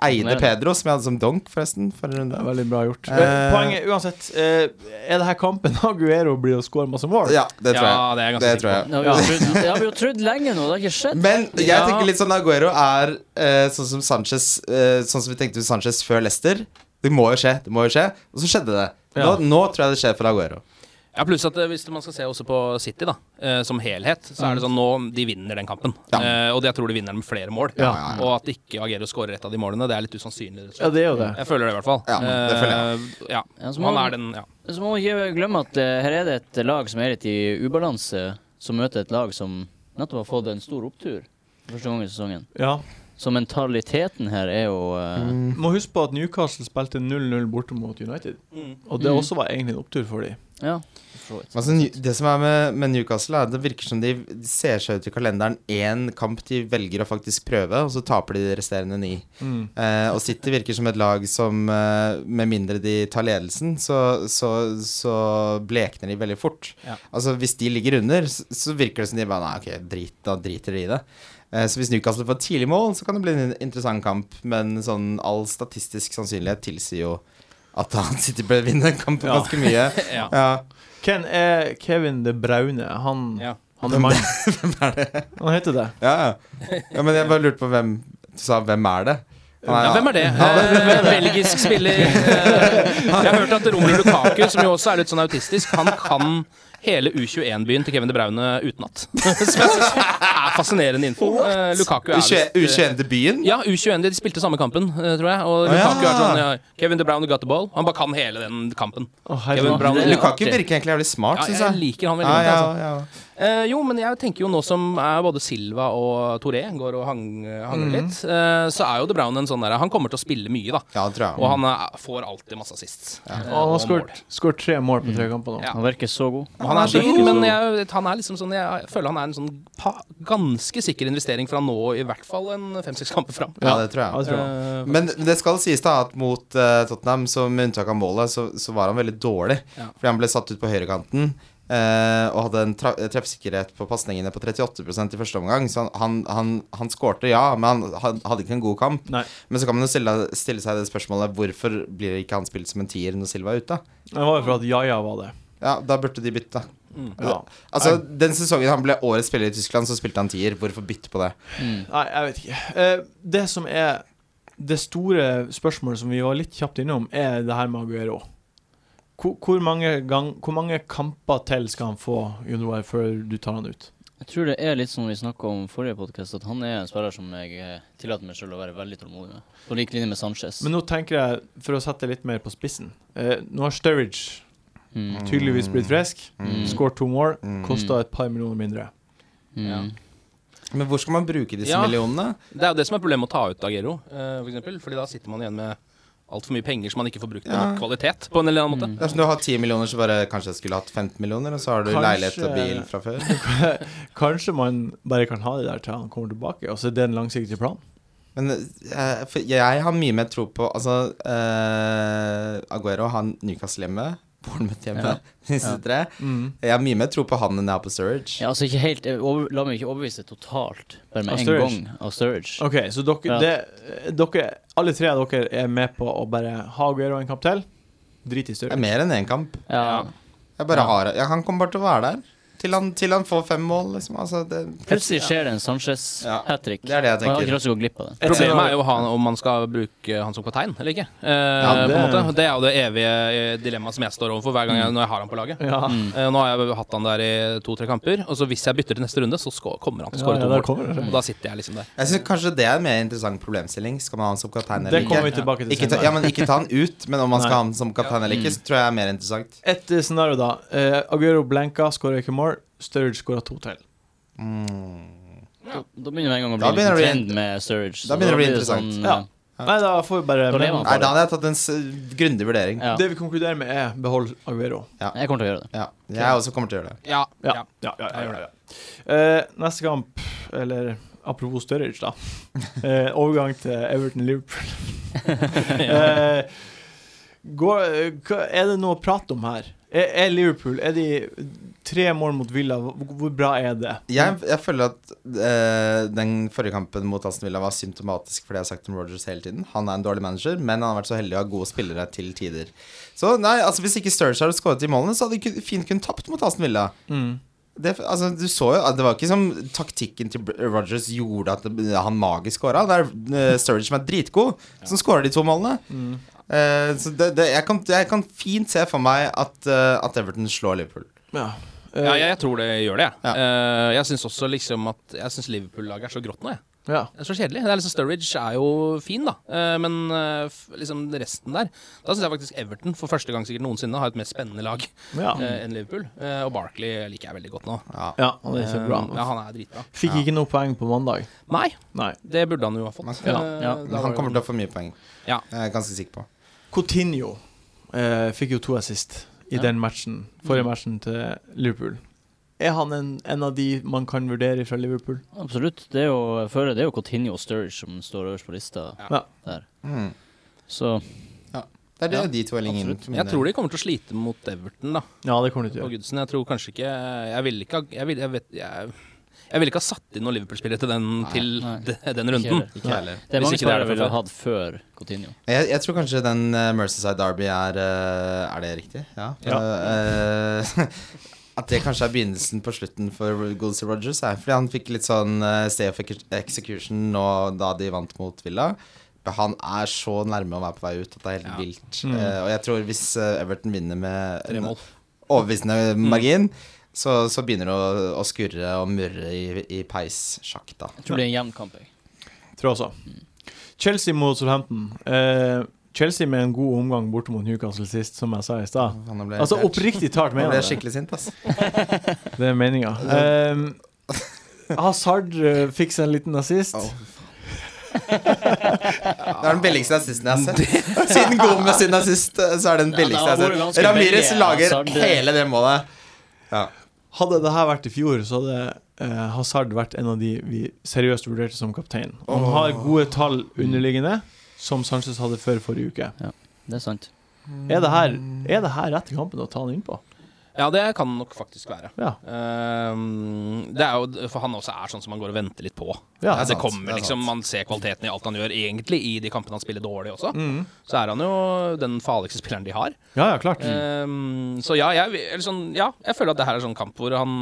B: Eide
D: Imponerende.
B: Pedro, som jeg hadde som donk, forresten, forrige runde.
A: Veldig bra gjort.
B: Eh.
A: Poenget uansett eh, Er det her kampen <laughs> Aguero blir å score masse mål?
B: Ja, det tror
C: ja,
B: jeg.
C: det er jeg ganske
B: Det
C: sikker
B: tror
C: på.
B: jeg.
D: Det har vi jo trodd, det har vi jo trodd lenge nå, det har ikke skjedd.
B: Men jeg
C: Ja.
B: tenker litt sånn Aguero er eh, sånn som Sanchez eh, Sånn som vi tenkte med Sanchez før Leicester. Det må jo skje, det må jo skje. Og så skjedde det. Nå,
A: Ja.
B: nå tror jeg det skjer for Aguero.
C: Ja, Pluss at eh, hvis man skal se også på City da, eh, som helhet, så er det sånn nå de vinner den kampen.
B: Ja.
C: Eh, og det jeg tror de vinner den med flere mål.
A: Ja,
B: ja, ja.
C: Og at ikke Agero skårer et av de målene, det er litt usannsynlig. rett og
A: Ja,
C: slett.
A: det er jo det.
C: Jeg føler det i hvert fall.
B: Ja, det føler
C: Eh, ja.
D: Ja, så må
C: Han
D: man-
C: er den, ja.
D: Så må vi ikke glemme at eh, her er det et lag som er litt i ubalanse, som møter et lag som nettopp har fått en stor opptur for første gang i sesongen.
A: Ja.
D: Så mentaliteten her er jo eh,
A: Må huske på at Newcastle spilte 0-0 borte mot United, og det
D: Mm.
A: også var egentlig en opptur for dem.
D: Ja. for så vidt.
B: Altså, New- det som er med, med Newcastle, er at det virker som de de ser seg ut i kalenderen én kamp de velger å faktisk prøve, og så taper de de resterende ni.
A: Mm.
B: Eh, og City virker som et lag som eh, med mindre de tar ledelsen, så, så, så blekner de veldig fort.
C: Ja.
B: Altså Hvis de ligger under, så, så virker det som de bare Nei, ok, drit, da driter de i det. Eh, så hvis Newcastle får tidlig mål, så kan det bli en interessant kamp, men sånn all statistisk sannsynlighet tilsier jo at da <laughs> City bør vinne kampen
A: Ja.
B: ganske mye.
C: Ja.
B: ja.
A: Ken er Kevin det braune. Han,
C: Ja.
A: han <laughs> er mann. Han heter det.
B: Ja, ja. ja men jeg bare lurte på hvem Du sa 'hvem er det?' Han
C: Ja, hvem er det? Eh, belgisk spiller. Eh, jeg har hørt at Romelu Lukaku, som jo også er litt sånn autistisk, han kan hele U21-byen til Kevin De Braune utenat. <laughs> Som jeg synes er fascinerende info. Eh, Lukaku er visst, eh,
B: U21-debuten?
C: Ja, U21, de spilte samme kampen, eh, tror jeg. Og
B: Å, ja.
C: Lukaku er sånn ja, Kevin De Braune got the ball. Han bare kan hele den kampen.
A: Å,
C: Kevin
A: herregud.
C: De Braune,
B: Lukaku
C: ja,
B: virker egentlig jævlig smart,
C: ja,
B: syns
C: jeg
B: jeg.
C: liker han veldig
B: Ja,
C: godt.
B: ja,
C: Altså.
B: ja.
C: Eh, jo, men jeg tenker jo nå som er både Silva og Toré går og hang, hanger
B: Mm.
C: litt, eh, så er jo De Bruyne en sånn der Han kommer til å spille mye, da.
B: ja, det tror jeg.
C: Og han er, får alltid masse assist. Eh,
A: Og han har
C: og mål.
A: skåret- skåret tre mål på tre kamper nå.
C: Ja.
D: Han virker så god.
C: Og Han er dyr, men jeg, han er liksom sånn, jeg føler han er en sånn pa, ganske sikker investering fra nå i hvert fall en fem-seks kamper fram.
B: Ja, det tror jeg.
A: Ja, det tror jeg.
C: Eh,
B: Men det skal sies da at mot eh, Tottenham, så med unntak av målet, så, så var han veldig dårlig.
C: Ja.
B: Fordi han ble satt ut på høyrekanten eh, og hadde en tra treffsikkerhet på pasningene på 38 i første omgang. Så han, han, han, han skårte, ja, men han, han hadde ikke en god kamp.
A: Nei.
B: Men så kan man jo stille, stille seg det spørsmålet hvorfor blir ikke han spilt som en tier når Silva er ute?
A: Det var jo for at Jaja var det.
B: Ja, da burde de bytte.
C: mm.
A: Ja.
B: Altså, Den sesongen han ble årets spiller i Tyskland, så spilte han tier. Hvorfor bytte på det?
D: Mm.
A: Nei, jeg vet ikke. Eh, Det som er det store spørsmålet som vi var litt kjapt innom, er det her med Aguero. Hvor, hvor, mange, gang, hvor mange kamper til skal han få Januar før du tar han ut?
D: Jeg tror det er litt som vi snakka om i forrige podkast, at han er en spiller som jeg eh, tillater meg selv å være veldig tålmodig med. På lik linje med Sanchez.
A: Men nå tenker jeg, for å sette det litt mer på spissen eh, Nå har Sturridge
D: mm.
A: tydeligvis blitt frisk.
D: Mm.
A: Skåret to mål.
B: Mm.
A: Kosta et par millioner mindre.
D: Mm.
C: Ja.
B: Men hvor skal man bruke disse
C: Ja.
B: millionene?
C: Det er jo det som er problemet med å ta ut Agero, eh, for eksempel. Fordi da sitter man igjen med altfor mye penger som man ikke får brukt til
B: Ja.
C: nok kvalitet på en eller annen måte.
B: Det er som Altså, du har 10 millioner, så bare kanskje jeg skulle hatt 15 millioner, og så har du
A: Kanskje-
B: leilighet og bil fra før.
A: Kanskje man bare kan ha det der til han kommer tilbake, og så er det en langsiktig plan?
B: Men eh, for jeg har mye mer tro på Altså, eh, Aguero har Newcastle hjemme, Bournemouth hjemme, <laughs>
D: Ja.
B: disse
D: Ja.
B: tre.
A: Mm.
B: Jeg har mye mer tro på han enn jeg har på Surge.
D: Ja, altså ikke helt, jeg over, La meg ikke overbevise totalt, bare
A: Av
D: med en gang,
A: Sturridge.
D: av Sturridge.
A: Ok, så dere,
D: Ja.
A: det, eh, dere Alle tre av dere er med på å bare ha Aguero en kamp til? Drit i
B: Det
A: større.
B: er mer enn én kamp.
D: Ja.
B: Jeg bare
D: Ja.
B: har jeg, Han kommer bare til å være der. Til han, til han får fem mål, liksom. Altså, det,
D: Plutselig skjer det en Sanchez-hat trick.
B: det er det jeg
D: Og jeg har
B: tenker.
D: ikke lyst til å gå glipp av det.
A: Et
C: Problemet er
A: scenario-
C: jo han, om man skal bruke han som kaptein eller ikke. Eh,
A: det-
C: på en måte. det er jo det evige eh, dilemmaet som jeg står overfor hver gang jeg, når jeg har han på laget.
A: ja.
C: Eh, nå har jeg hatt han der i to-tre kamper, og så hvis jeg bytter til neste runde, så skå- kommer han
A: Ja,
C: til å skåre
A: ja, der
C: to
A: kommer
C: mål.
A: det.
C: Og da sitter jeg liksom der.
B: Jeg synes kanskje det er en mer interessant problemstilling. Skal man ha han som kaptein
A: Det
B: eller
A: kommer
B: ikke?
A: vi tilbake til
B: Ikke ta, ja,
A: senere.
B: men ikke ta han ut, men om man skal
A: Nei.
B: ha han som kaptein eller ikke, så tror jeg er mer interessant.
A: Et eh, scenario, da. Eh, Aguero blenka, skårer ikke mål. Sturridge skårer to til.
B: Mm.
D: Da, da begynner det en gang å
B: Da
D: bli litt
B: begynner det å bli-
D: trend med Sturridge.
B: da
D: så
B: begynner det å bli
D: blir
B: interessant.
D: Sånn,
B: Ja.
A: Nei, da får vi bare
D: Da lever
A: men,
D: han.
B: Nei, da hadde jeg tatt en s- grundig vurdering.
D: ja.
A: Det vi konkluderer med, er behold Aguero.
D: eh, Jeg kommer til å gjøre det.
B: Ja, jeg også kommer til å gjøre det.
C: Ja,
A: Ja.
C: ja.
A: ja, ja,
C: jeg
A: ja,
C: gjør
A: ja, Eh, neste kamp, eller apropos Sturridge,
C: <laughs>
A: da. Eh, overgang til Everton-Liverpool.
C: <laughs>
A: Eh, går- eh, hva- er det noe å prate om her? Er, er Liverpool Er de tre mål mot Villa? Hvor, hvor bra er det?
B: Jeg, jeg føler at eh, den forrige kampen mot Aston Villa var symptomatisk for det jeg har sagt om Rogers hele tiden. Han er en dårlig manager, men han har vært så heldig å ha gode spillere til tider. Så nei, altså hvis ikke Sturridge hadde skåret de målene, så hadde de kun- fint kunnet tapt mot Aston Villa.
A: Mm.
B: Det, altså, du så jo, det var ikke som taktikken til Rogers gjorde at han magisk skåra. Det er eh, Sturridge som er dritgod, som skårer de to målene.
A: Mm.
B: Eh, så det, det, jeg, kan, jeg kan fint se for meg at, eh, at Everton slår Liverpool.
A: Ja.
C: Ja,
A: Eh,
C: jeg, jeg tror det gjør det, jeg.
B: Ja.
C: Eh, jeg syns også liksom at Jeg syns Liverpool-laget er så grått nå, jeg.
A: ja.
C: Det er så kjedelig. Det er liksom Sturridge er jo fin, da. Eh, Men eh, f- liksom resten der Da syns jeg faktisk Everton for første gang sikkert noensinne har et mer spennende lag
A: ja.
C: eh, enn Liverpool. Eh, Og Barkley liker jeg veldig godt nå.
B: Ja.
A: Ja, han er så
C: Eh,
A: bra.
C: Ja, han er dritbra.
A: Fikk ikke noe poeng på mandag.
C: Nei,
A: Nei.
C: det burde han jo ha fått.
B: Ja,
C: Eh, da
D: ja.
B: Men
C: var
B: han
C: det-
B: kommer til å få mye poeng.
C: Ja.
B: Jeg er ganske sikker på.
A: Coutinho eh, fikk jo to assist i
D: Ja.
A: den matchen, forrige matchen til Liverpool. Er han en, en av de man kan vurdere fra Liverpool?
D: Absolutt. Det er jo, jeg føler det er jo Coutinho og Sturridge som står øverst på lista
A: Ja.
D: der.
B: Mm.
D: Så
B: Det er det
D: Ja,
B: de to er linjen
D: absolutt.
B: for min
C: Jeg
B: del.
C: tror de kommer til å slite mot Everton, da.
A: Ja, det kommer de til
C: På
A: å gjøre.
C: Goodson. Jeg tror kanskje ikke Jeg ville ikke ha Jeg ville, jeg vet, jeg, jeg ville ikke ha satt inn noen Liverpool-spillere til, den,
B: Nei.
C: til
D: Nei.
C: de- <laughs> den
D: Ikke
C: runden.
D: heller.
B: Ikke jeg heller.
D: det er
C: Hvis ikke det
D: mange
C: er det
D: spillere vi
C: fra
D: ville hatt før Coutinho.
B: Jeg, jeg tror kanskje den eh, Merseyside Derby er eh, Er det riktig? Ja. Eh, eh, at det kanskje er begynnelsen på slutten for Goolsey Rogers. Er fordi han fikk litt sånn eh, stay of execution nå da de vant mot Villa. Mbappe han er så nærme å være på vei ut at det er helt
C: Ja.
B: vilt.
A: Mm.
B: Eh, og jeg tror hvis eh, Everton vinner med
C: Tre
B: en
C: mål.
B: overbevisende margin, så, så begynner det å, å skurre og murre i, i peissjakk, da.
D: Jeg tror det er en jevn kamp. Jeg.
A: Tror jeg også. Chelsea mot Southampton. Eh, Chelsea med en god omgang borte mot Newcastle sist, som jeg sa i stad.
B: Faen, nå ble jeg
A: Altså
B: irritert.
A: oppriktig talt
B: Nå
A: mener
B: ble
A: jeg
B: jeg
A: det.
B: skikkelig sint, ass.
A: Det er meninga. Um, Hazard eh, fikk seg en liten nazist.
B: Au. Det er den billigste assisten jeg har sett. Siden Gomez sin assist, eh, så er det den
D: Ja,
B: billigste
D: det
B: jeg
D: har vært
B: har
D: ganske
B: sett. Ramirez
D: billig,
B: lager
D: Hazard.
B: hele det målet. Ja.
A: Hadde det her vært i fjor, så hadde eh, Hazard vært en av de vi seriøst vurderte som kaptein. Og Han
B: Åh.
A: har gode tall underliggende, som Sanchez hadde før forrige uke.
D: Det er sant.
A: Er det her, er det her rett i kampen å ta han innpå?
C: Ja, det kan nok faktisk være.
A: Ja.
C: Ehm, det er jo, for han også er sånn som man går og venter litt på.
A: ja.
B: Det er
C: det
B: sant,
C: kommer
B: det er
C: liksom,
B: sant.
C: Man ser kvaliteten i alt han gjør, egentlig, i de kampene han spiller dårlig også.
A: Mm.
C: Så er han jo den farligste <laughs> spilleren de har.
A: ja, ja,
B: Mm.
A: klart.
C: Ehm, så ja jeg, eller sånn, ja, jeg føler at det her er sånn kamp hvor han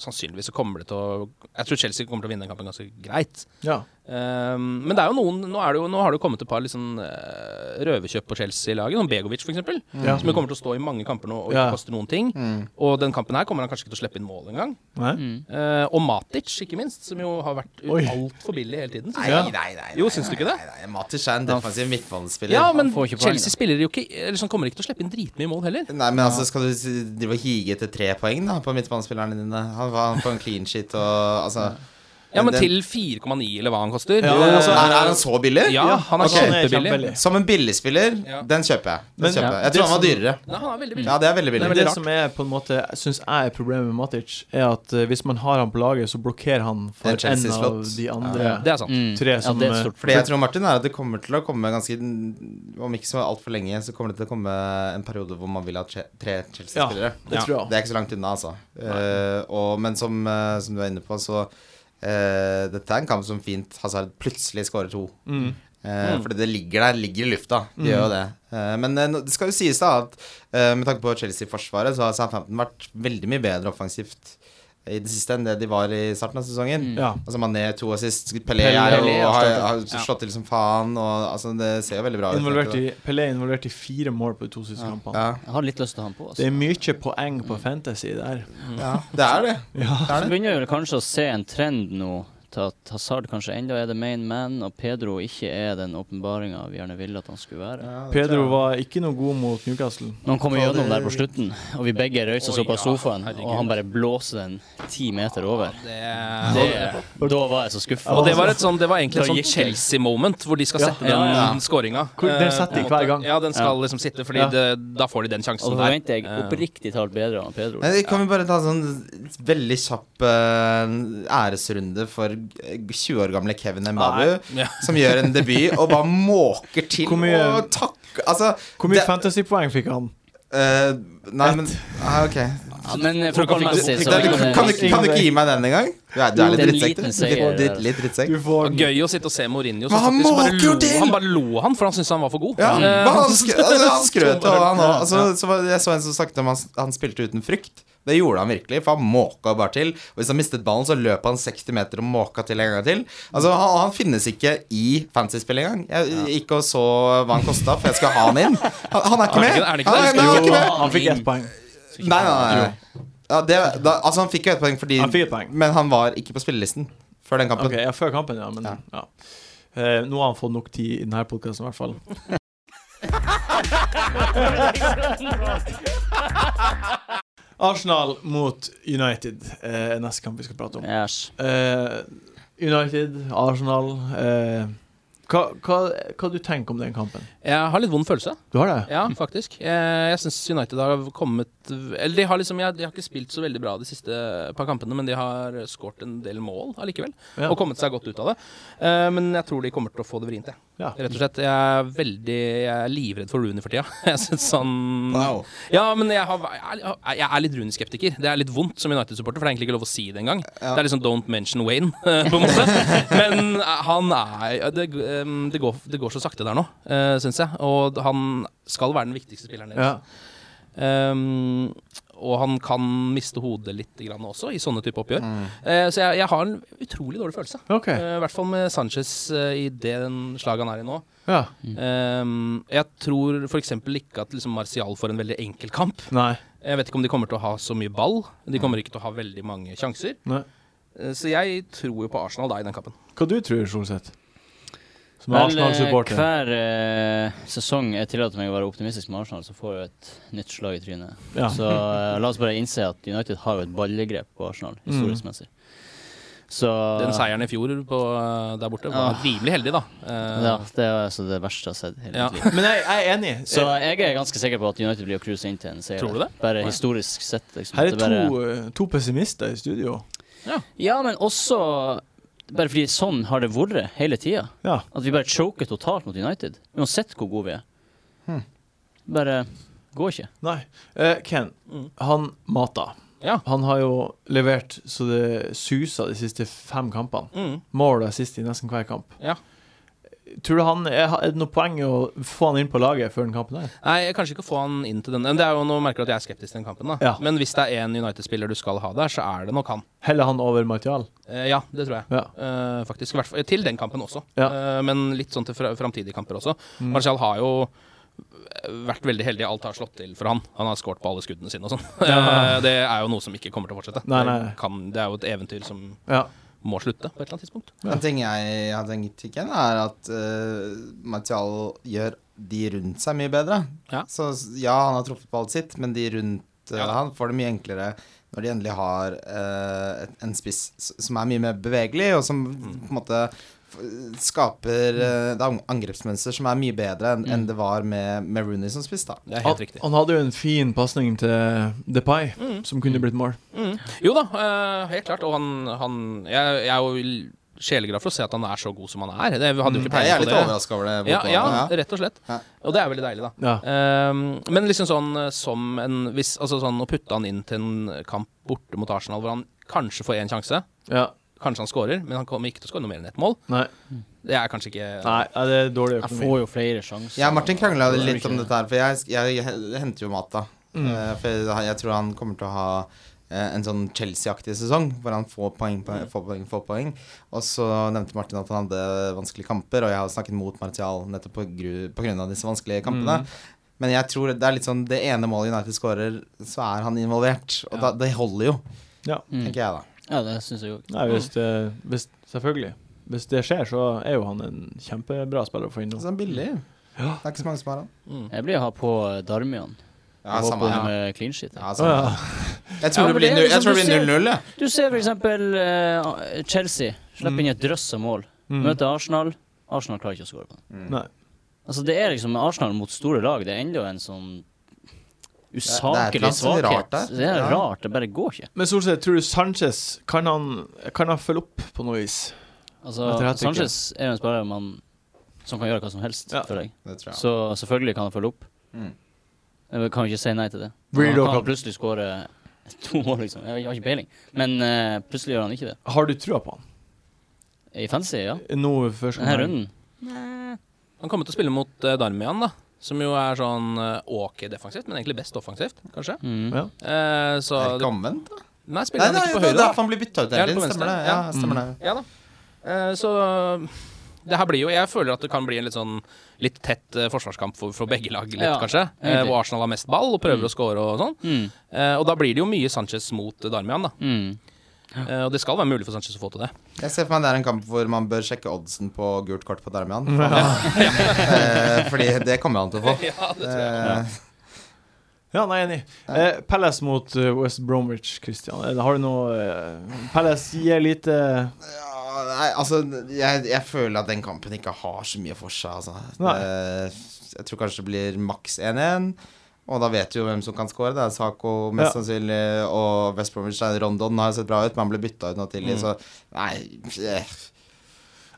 C: sannsynligvis så kommer det til å Jeg tror Chelsea kommer til å vinne den kampen ganske greit.
A: Ja.
C: Ehm, men det er jo noen nå, er det jo, nå har det jo kommet et par litt sånn, eh, røverkjøp på Chelsea-laget, som Begovic f.eks., eksempel
A: Ja.
C: som jo kommer til å stå i mange kamper nå og ikke
A: Ja.
C: koster noen ting.
B: Mm.
C: Og den kampen her kommer han kanskje ikke til å slippe inn mål engang.
A: Nei?
C: Uh, og Matic, ikke minst, som jo har vært
A: Oi.
C: altfor billig hele tiden. synes
B: Nei,
C: jeg.
A: Ja.
B: nei, nei, nei.
C: Jo, syns du ikke det?
B: Nei, nei, Matic er en defensiv midtbanespiller.
C: Ja, men
D: får ikke poeng,
C: Chelsea
D: da.
C: spiller jo ikke eller sånn kommer ikke til å slippe inn dritmye mål heller.
B: Nei, men altså, skal du si- drive og hige etter tre poeng da på midtbanespillerne dine? Han var på en clean sheet og altså
C: Ja, men
B: den-
C: til 4,9 eller hva han koster.
A: Ja,
C: Eh,
B: altså, er, er han så billig?
C: ja, han er
B: ok.
C: kjempebillig.
B: Som en billigspiller,
C: Ja.
B: den kjøper jeg. Den
A: Men-
B: kjøper
A: Ja.
B: jeg. jeg tror han var
A: Det som-
B: dyrere.
C: Nei, han er veldig billig.
B: Ja, det er veldig billig.
C: Det er veldig
A: det
C: rart.
A: som er på en måte syns jeg er problemet med Matic, er at eh, hvis man har han på laget, så blokkerer han for en
B: Det er
A: av
B: Chelsea-slott.
A: de andre
C: Det er sant.
D: Mm.
A: tre som
D: ja, det er
A: eh,
D: et stort
B: Fordi jeg tror Martin er at det kommer til å komme ganske Om ikke så altfor lenge, så kommer det til å komme en periode hvor man vil ha tre tre Chelsea-spillere.
A: det tror jeg.
B: Det er ikke så langt unna, altså. Eh, og, men som, eh, som du er inne på, så eh, Dette er en kamp som fint Hazard plutselig skårer to.
A: Mm.
B: Eh, Fordi det ligger der, ligger i lufta. De gjør jo det. Eh, men eh, nå- det skal jo sies, da, at eh, med tanke på Chelsea-forsvaret, så har Southampton vært veldig mye bedre offensivt i det siste enn det de var i starten av sesongen.
D: Mm.
A: Ja.
B: Altså Mané to assist, Pelé
A: Pelé
B: er jo,
A: har
B: har,
A: startet.
B: har slått til som faen. Og, altså, det ser jo veldig bra ut.
A: Involvert i, Pelé er involvert i fire mål på de to siste kampene.
B: ja.
D: Jeg har litt lyst til å ha han på.
A: Det
D: Altså.
A: er mye poeng på Fantasy der.
B: ja, det er det.
A: Ja.
B: det,
D: Så
B: er det.
D: begynner vi vel kanskje å se en trend nå til at Hazard kanskje enda er the main man, og Pedro ikke er den åpenbaringa vi gjerne ville at han skulle være.
B: Ja, det tror
A: Pedro
B: jeg.
A: var ikke noe god mot Newcastle.
D: Når han kommer
B: Ta det-
D: gjennom der på slutten, og vi begge røyser oss
C: Oi,
D: opp av
C: ja,
D: sofaen,
C: herregud.
D: og han bare blåser den ti meter over
C: Det,
D: det, Da var jeg så skuffa.
C: og det var, et sånn, det var egentlig et
D: Da
C: sånn
D: gikk jeg.
C: Chelsea-moment, hvor de skal
A: Ja,
C: sette
D: ja, ja.
C: den skåringa.
A: Hvor- den
C: Eh,
A: setter
C: på en
A: de hver
C: måte.
A: gang.
C: Ja, den skal liksom sitte, Fordi
A: Ja.
C: det, da får de den
D: Og så
C: sjansen der. Eh.
D: forventer jeg oppriktig talt bedre av Pedro.
B: Men Kan vi bare ta en sånn veldig kjapp eh, æresrunde for 20 år gamle Kevin Mbabu,
C: Ja.
B: som gjør en debut og bare måker til
A: Hvor mye-
B: og takker Altså
A: Hvor mye
B: det-
A: fantasypoeng fikk han?
B: eh, Nei, men ah, OK.
D: Ja,
C: tror ikke
D: men
C: han fikk-
D: fotballmessig
B: Du-
D: så
B: Kan, du- kan, du- kan du ikke gi meg den engang? Du er, du er litt
D: Det er en
B: drittsekk,
D: liten
B: du.
D: seier,
B: Litt,
D: det
B: litt,
D: der.
B: litt drittsekk.
A: Du får
C: Gøy å sitte og se Mourinho
B: Men
C: som
B: han
C: faktisk bare
B: måker jo
C: lo,
B: til!
C: han bare lo han, for han syntes han var for god.
B: Ja,
C: Eh,
B: men <laughs> han, sk-
C: <laughs>
B: altså, han skrøt jo, han òg. Altså,
C: Ja.
B: så var- jeg så en som snakket om han, han spilte uten frykt. Det gjorde han virkelig, for han måka bare til. Og hvis han mistet ballen, så løp han 60 meter og måka til en gang til. Altså, han, han finnes ikke i fantasy-spill engang. Jeg gikk og så hva han kosta, for jeg skal ha han inn. Han, han er ikke
C: Er det
B: med!
C: ikke- er det ikke
B: Han
C: det?
B: er- nei, han er ikke med.
A: Han fikk ett poeng.
B: Nei, nei, nei. Ja, det, da, altså, han fikk jo ett poeng, fordi,
A: Han fikk et poeng.
B: men han var ikke på spillelisten før den kampen.
A: Ok, ja, Før kampen, ja. Men,
B: Ja.
A: ja. Eh, nå har han fått nok tid i denne podkasten, i hvert fall. <laughs> Arsenal mot United eh, er neste kamp vi skal prate om.
D: Æsj.
A: Eh, United, Arsenal eh, hva, hva, hva du tenker om den kampen?
C: Jeg har litt vond følelse.
A: Du har det?
C: Ja, faktisk. Eh, Jeg syns United har kommet Eller de har liksom jeg- De har ikke spilt så veldig bra de siste par kampene, men de har skåret en del mål allikevel.
A: Ja.
C: Og kommet seg godt ut av det. Eh, Men jeg tror de kommer til å få det vrient, jeg.
A: Ja.
C: Rett og slett. Jeg er veldig Jeg er livredd for Rooney for tida. <laughs> Jeg synes han
B: Wow.
C: Ja, men jeg, har, jeg er- jeg er litt Rooney-skeptiker. Det er litt vondt som United-supporter, for det er egentlig ikke lov å si det engang.
B: Ja.
C: Det er liksom don't mention Wayne, <laughs> eh, på en måte. Men eh, han er ja, Det, eh, det, går, det går så sakte der nå, eh, syns jeg. Og han skal være den viktigste spilleren deres.
A: Ja.
C: Ehm, og han kan miste hodet litt grann også, i sånne type oppgjør.
B: Mm.
C: Eh, så jeg, jeg har en utrolig dårlig følelse.
A: OK.
C: Eh, I hvert fall med Sanchez eh, i den slaget han er i nå.
A: Ja.
C: Eh, jeg tror f.eks. ikke at liksom, Martial får en veldig enkel kamp.
A: Nei.
C: Jeg vet ikke om de kommer til å ha så mye ball. De kommer ikke til å ha veldig mange sjanser.
A: Nei.
C: Eh, så jeg tror jo på Arsenal da i den kampen.
A: Hva du tror du, Solseth? Som
D: Vel, eh,
A: Arsenal-supporter?
D: hver eh, sesong jeg tillater meg å være optimistisk med Arsenal, så får jeg et nytt slag i trynet.
A: Ja.
D: Så eh, la oss bare innse at United har jo et ballegrep på Arsenal, historisk messig. Så
C: Mm. Den seieren i fjor på, eh, der borte var rimelig heldig, da. Eh,
D: Ja, det er altså det verste jeg har sett i hele
C: Ja.
D: mitt liv.
A: Men jeg, jeg er enig.
D: Så jeg er ganske sikker på at United blir å cruise inn til en seier.
C: Tror du det?
D: Bare historisk sett. Liksom.
A: Her er
D: Det bare-
A: to, eh, to pessimister i studio.
D: Ja, men også bare fordi sånn har det vært hele tida.
A: Ja.
D: At vi bare choker totalt mot United. Uansett hvor gode vi er. Bare går ikke.
A: Nei. Eh, Ken,
D: Mm.
A: han Mata.
C: Ja.
A: Han har jo levert så det suser de siste fem kampene.
C: Mm.
A: Mål og assist i nesten hver kamp.
C: Ja.
A: Tror du han, er, er det noe poeng i å få han inn på laget før den kampen der?
C: Nei, jeg kanskje ikke få han inn til den. Men det er jo nå merker jeg at jeg er skeptisk til den kampen. da
A: Ja.
C: Men hvis det er én United-spiller du skal ha der, så er det nok han.
A: Heller han over Martial?
C: Eh, ja, det tror jeg.
A: Ja.
C: Eh, faktisk. i hvert fall- Til den kampen også.
A: Ja.
C: Eh, men litt sånn til fra- framtidige kamper også.
A: Mm.
C: Martial har jo eh, vært veldig heldig. Alt har slått til for han. Han har skåret på alle skuddene sine og sånn.
A: Ja.
C: <laughs> Eh, det er jo noe som ikke kommer til å fortsette.
A: Nei, nei.
C: Det, kan, det er jo et eventyr som
A: Ja.
C: må slutte på et eller annet tidspunkt.
A: Ja.
B: En ting jeg har tenkt ikke er at eh, Martial gjør de rundt seg mye bedre.
C: Ja.
B: Så ja, han har truffet på alt sitt, men de rundt eh,
C: Ja da.
B: han får det mye enklere når de endelig har eh, et- en spiss s- som er mye mer bevegelig, og som på en måte f- skaper eh, et ang- angrepsmønster som er mye bedre enn enn det var med, med Rooney som spiss, da.
C: Det er helt
A: Han,
C: riktig.
A: han hadde jo en fin pasning til Depay,
D: Mm.
A: som kunne blitt mål.
C: Jo da, eh, helt klart. Og han, han jeg, jeg er jo l- sjeleglad for å se at han er så god som han er. Det,
A: Mm.
C: vi hadde jo ikke
B: Jeg
C: peiling
B: er
C: på
B: litt
C: det.
B: overraska over det.
C: Ja,
B: Boko.
C: ja,
B: Ja.
C: rett og slett.
B: Ja.
C: Og det er veldig deilig, da.
A: Ja.
C: Ehm, men liksom sånn eh, som en hvis, Altså sånn å putte han inn til en kamp borte mot Arsenal hvor han kanskje får én sjanse.
A: ja.
C: Kanskje han scorer, men han kommer ikke til å score noe mer enn ett mål.
A: Nei.
C: Det er kanskje ikke
A: Nei, ja, det er dårlig
D: Jeg
A: økonomi.
D: får jo flere sjanser.
B: Ja, Martin krangla
D: Det Mm. er
B: litt
D: ikke-
B: om dette her, for jeg, jeg, henter jo Mata. Eh, For jeg, jeg tror han kommer til å ha eh, en sånn Chelsea-aktig sesong, hvor han får poeng, poeng,
D: Mm.
B: får poeng, får poeng. Og så nevnte Martin at han hadde vanskelige kamper, og jeg har snakket mot Martial nettopp på, gru, på grunn av disse vanskelige kampene.
D: Mm.
B: Men jeg tror det er litt sånn det ene målet United skårer, så er han involvert. Og da, det holder jo,
A: Ja.
D: Mm.
B: tenker jeg da.
D: Ja, det syns jeg òg.
A: Nei, hvis det, hvis, selvfølgelig. Hvis det skjer, så er jo han en kjempebra spiller å få inn
B: Så
A: nå.
B: det er billig.
A: Ja.
B: Det er ikke så mange som har han.
C: mm.
D: Jeg blir å ha på eh, Darmian.
B: Ja,
D: Jeg
B: samme
D: håper eh,
B: her.
D: med clean shit.
B: Ja,
A: Å,
B: samme
A: ja.
B: her.
D: <laughs>
B: Jeg tror det
D: Ja, men
B: blir
D: det er
B: null- jeg
D: liksom
B: tror det
D: du ser-
B: blir 0-0, jeg.
D: Du ser for eksempel eh, Chelsea slipper inn et drøss av mål.
A: Mm.
D: Møter Arsenal. Arsenal klarer ikke å skåre på den.
B: Mm.
A: Nei.
D: Altså, det er liksom Arsenal mot store lag. Det er enda en sånn
B: Det er- det er et eller
D: usaklig
B: annet som er rart
D: svakhet.
B: der.
D: Det er
B: Ja.
D: rart. Det bare går ikke.
A: Men Solseth, tror du Sanchez kan han, kan han følge opp på noe vis? Etter
D: Altså,
A: hat-tricket.
D: Sanchez er jo en spiller man, som kan gjøre hva som helst,
A: Ja.
D: føler jeg.
B: Det tror jeg.
D: Så selvfølgelig kan han følge opp.
B: Mm.
D: Jeg kan jo ikke si nei til det.
A: Blir
D: Han
A: det
D: kan
A: også-
D: plutselig skåre to mål, liksom. Jeg har ikke peiling. Men eh, plutselig gjør han ikke det.
A: Har du trua på han?
D: I fancy, ja.
A: Nå først
D: Denne runden.
C: Han kommer til å spille mot eh, Darmian, da. Som jo er sånn eh, ok defensivt, men egentlig best offensivt, kanskje.
D: Mm.
A: Ja.
C: Eh, så
B: Er
C: det,
B: det ikke omvendt? da?
C: Nei,
B: Nei,
C: spiller
B: nei,
C: han ikke
B: det
C: på
B: er
C: høyre? da?
B: derfor han blir bytta ut
C: Ja,
B: hele
C: eller på
B: tiden. Stemmer
C: venstre.
B: det. Ja,
C: Ja. Mm.
B: stemmer det.
C: Ja da. Eh, Så det her blir jo Jeg føler at det kan bli en litt sånn litt tett eh, forsvarskamp for, for begge lag, litt
D: Ja,
C: kanskje. Eh,
D: egentlig.
C: Hvor Arsenal har mest ball og prøver
D: Mm.
C: å score og sånn.
D: Mm.
C: Eh, Og da blir det jo mye Sanchez mot eh, Darmian, da.
D: Mm.
C: Eh, Og det skal være mulig for Sanchez å få til det.
B: Jeg ser for meg det er en kamp hvor man bør sjekke oddsen på gult kort på Darmian. <laughs> Eh, Fordi det kommer han til
C: <laughs>
B: å få. Eh,
A: Ja, nei, enig. Eh, Palace mot eh, West Bromwich, Christian. Eller har du noe eh, Palace gir lite
B: Eh, ja, Nei, altså jeg, jeg føler at den kampen ikke har så mye for seg, altså.
A: Nei.
B: Det- Jeg tror kanskje det blir maks 1-1. Og da vet du jo hvem som kan score. Det er Saco mest
A: Ja.
B: sannsynlig, og West Bromwich Nei, Rondon har jo sett bra ut, men han ble bytta ut nå
C: Mm.
B: tidlig, så nei eh,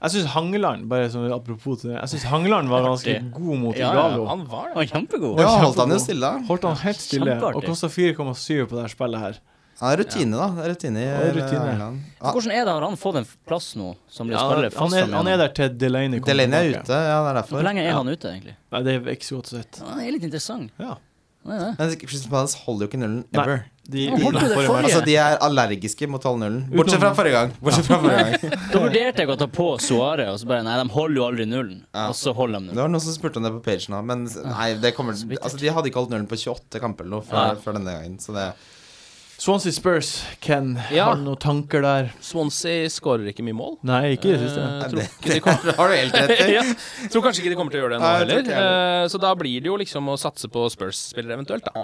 A: Jeg syns Hangeland, bare sånn apropos til det Jeg synes Hangeland var ganske
D: Artig.
A: god mot
D: Ja, ja,
A: Igalo.
C: Han var
D: Han var kjempegod.
B: Ja, holdt
A: kjempegod.
B: han jo stille. da.
A: Holdt han helt stille
D: Kjempeartig.
A: og kosta 4,7 på det her spillet her.
B: Han er rutine, da. Det er rutine i eh,
A: Ja, rutine.
B: England. Ja,
D: Hvordan er det? Har han fått en plass nå? Som blir
A: Ja,
D: spiller
A: han,
D: fast
A: er, han er der til Delaney kommer
B: Delaney er
A: tilbake.
B: ute, ja, det er derfor.
D: Hvor lenge er han ute, egentlig?
A: Nei, det er ikke så godt sett.
D: Han er litt interessant.
A: Ja.
D: Han er det.
B: Men Crystal Palace holder jo ikke nullen ever.
A: De,
D: Hvorfor
A: de,
D: det forrige?
B: Altså, de er allergiske mot 12-0. Bortsett fra forrige gang. Bortsett fra forrige
A: <laughs>
B: gang.
D: Da vurderte jeg å ta på Soare, og så bare Nei, de holder jo aldri nullen.
B: Ja.
D: Og så holder
B: Det
D: de nullen.
B: var noen som spurte om det på pagen òg, men nei, det kommer, altså, de hadde ikke holdt nullen på 28 kamper eller noe før,
D: Ah, Nei.
B: før denne gangen. Så det
A: Swansea Spurs, Ken.
C: Ja.
A: Har du noen tanker der?
C: Swansea skårer ikke mye mål.
A: Nei, ikke i det siste.
C: Eh, tror
B: det,
C: ikke de kommer-
B: har du helt rett i.
C: <laughs> ja. Tror kanskje ikke de kommer til å gjøre det nå
B: Nei, jeg tror
C: heller.
B: ikke heller.
C: Eh, Så da blir det jo liksom å satse på Spurs-spillere eventuelt, da.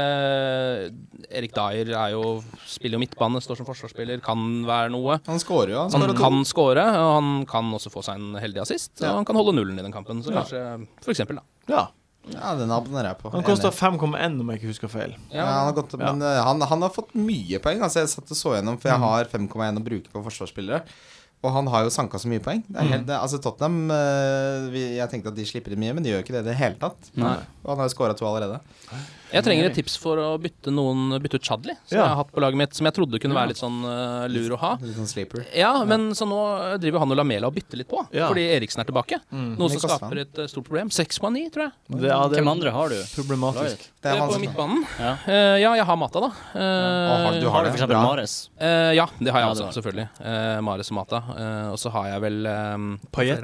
C: Eh, Erik Dyer er jo, spiller jo midtbane, står som forsvarsspiller, kan være noe.
B: Han scorer jo. Han
C: Han
B: scorer to.
C: kan skåre, og han kan også få seg en heldig assist.
B: Ja.
C: Og han kan holde nullen i den kampen, så
A: Ja.
C: kanskje for eksempel, da.
A: Ja.
B: Ja, den abonnerer jeg på.
A: Han kosta 5,1, om jeg ikke husker feil.
B: Ja, han, har gått,
A: Ja.
B: men, eh, han, han har fått mye poeng. Altså, jeg satt og så gjennom, for jeg har 5,1 å bruke på forsvarsspillere. Og han har jo sanka så mye poeng. Det er helt, det- altså Tottenham eh, vi, Jeg tenkte at de slipper inn mye, men de gjør ikke det i det hele tatt.
D: Nei.
B: Og han har jo scora to allerede.
C: Jeg trenger et tips for å bytte noen Bytte ut Chadli, som
A: Ja.
C: jeg har hatt på laget mitt, som jeg trodde kunne være litt sånn eh, lur å ha.
B: Litt sånn sleeper.
C: Ja, men så nå driver han og Lamela og bytter litt på,
A: Ja. Mm.
C: fordi Eriksen er tilbake. Noe som
B: Niklas Vann.
C: skaper et eh, stort problem. 6,9, tror jeg.
A: Det, ja, det
D: Hvem
A: er
D: andre har du?
A: problematisk.
B: Det er
C: Eh, på
B: vanskelig.
C: midtbanen.
D: Ja.
C: Eh, ja, jeg har Mata, da. Eh,
B: Å, har du- du
D: Har du for
B: det?
D: eksempel
B: Bra.
D: Mares?
C: eh, ja, det har jeg
D: Ja,
C: også,
D: det
C: selvfølgelig. Eh, Mares og Mata. Eh, og så har jeg vel um,
A: Payet.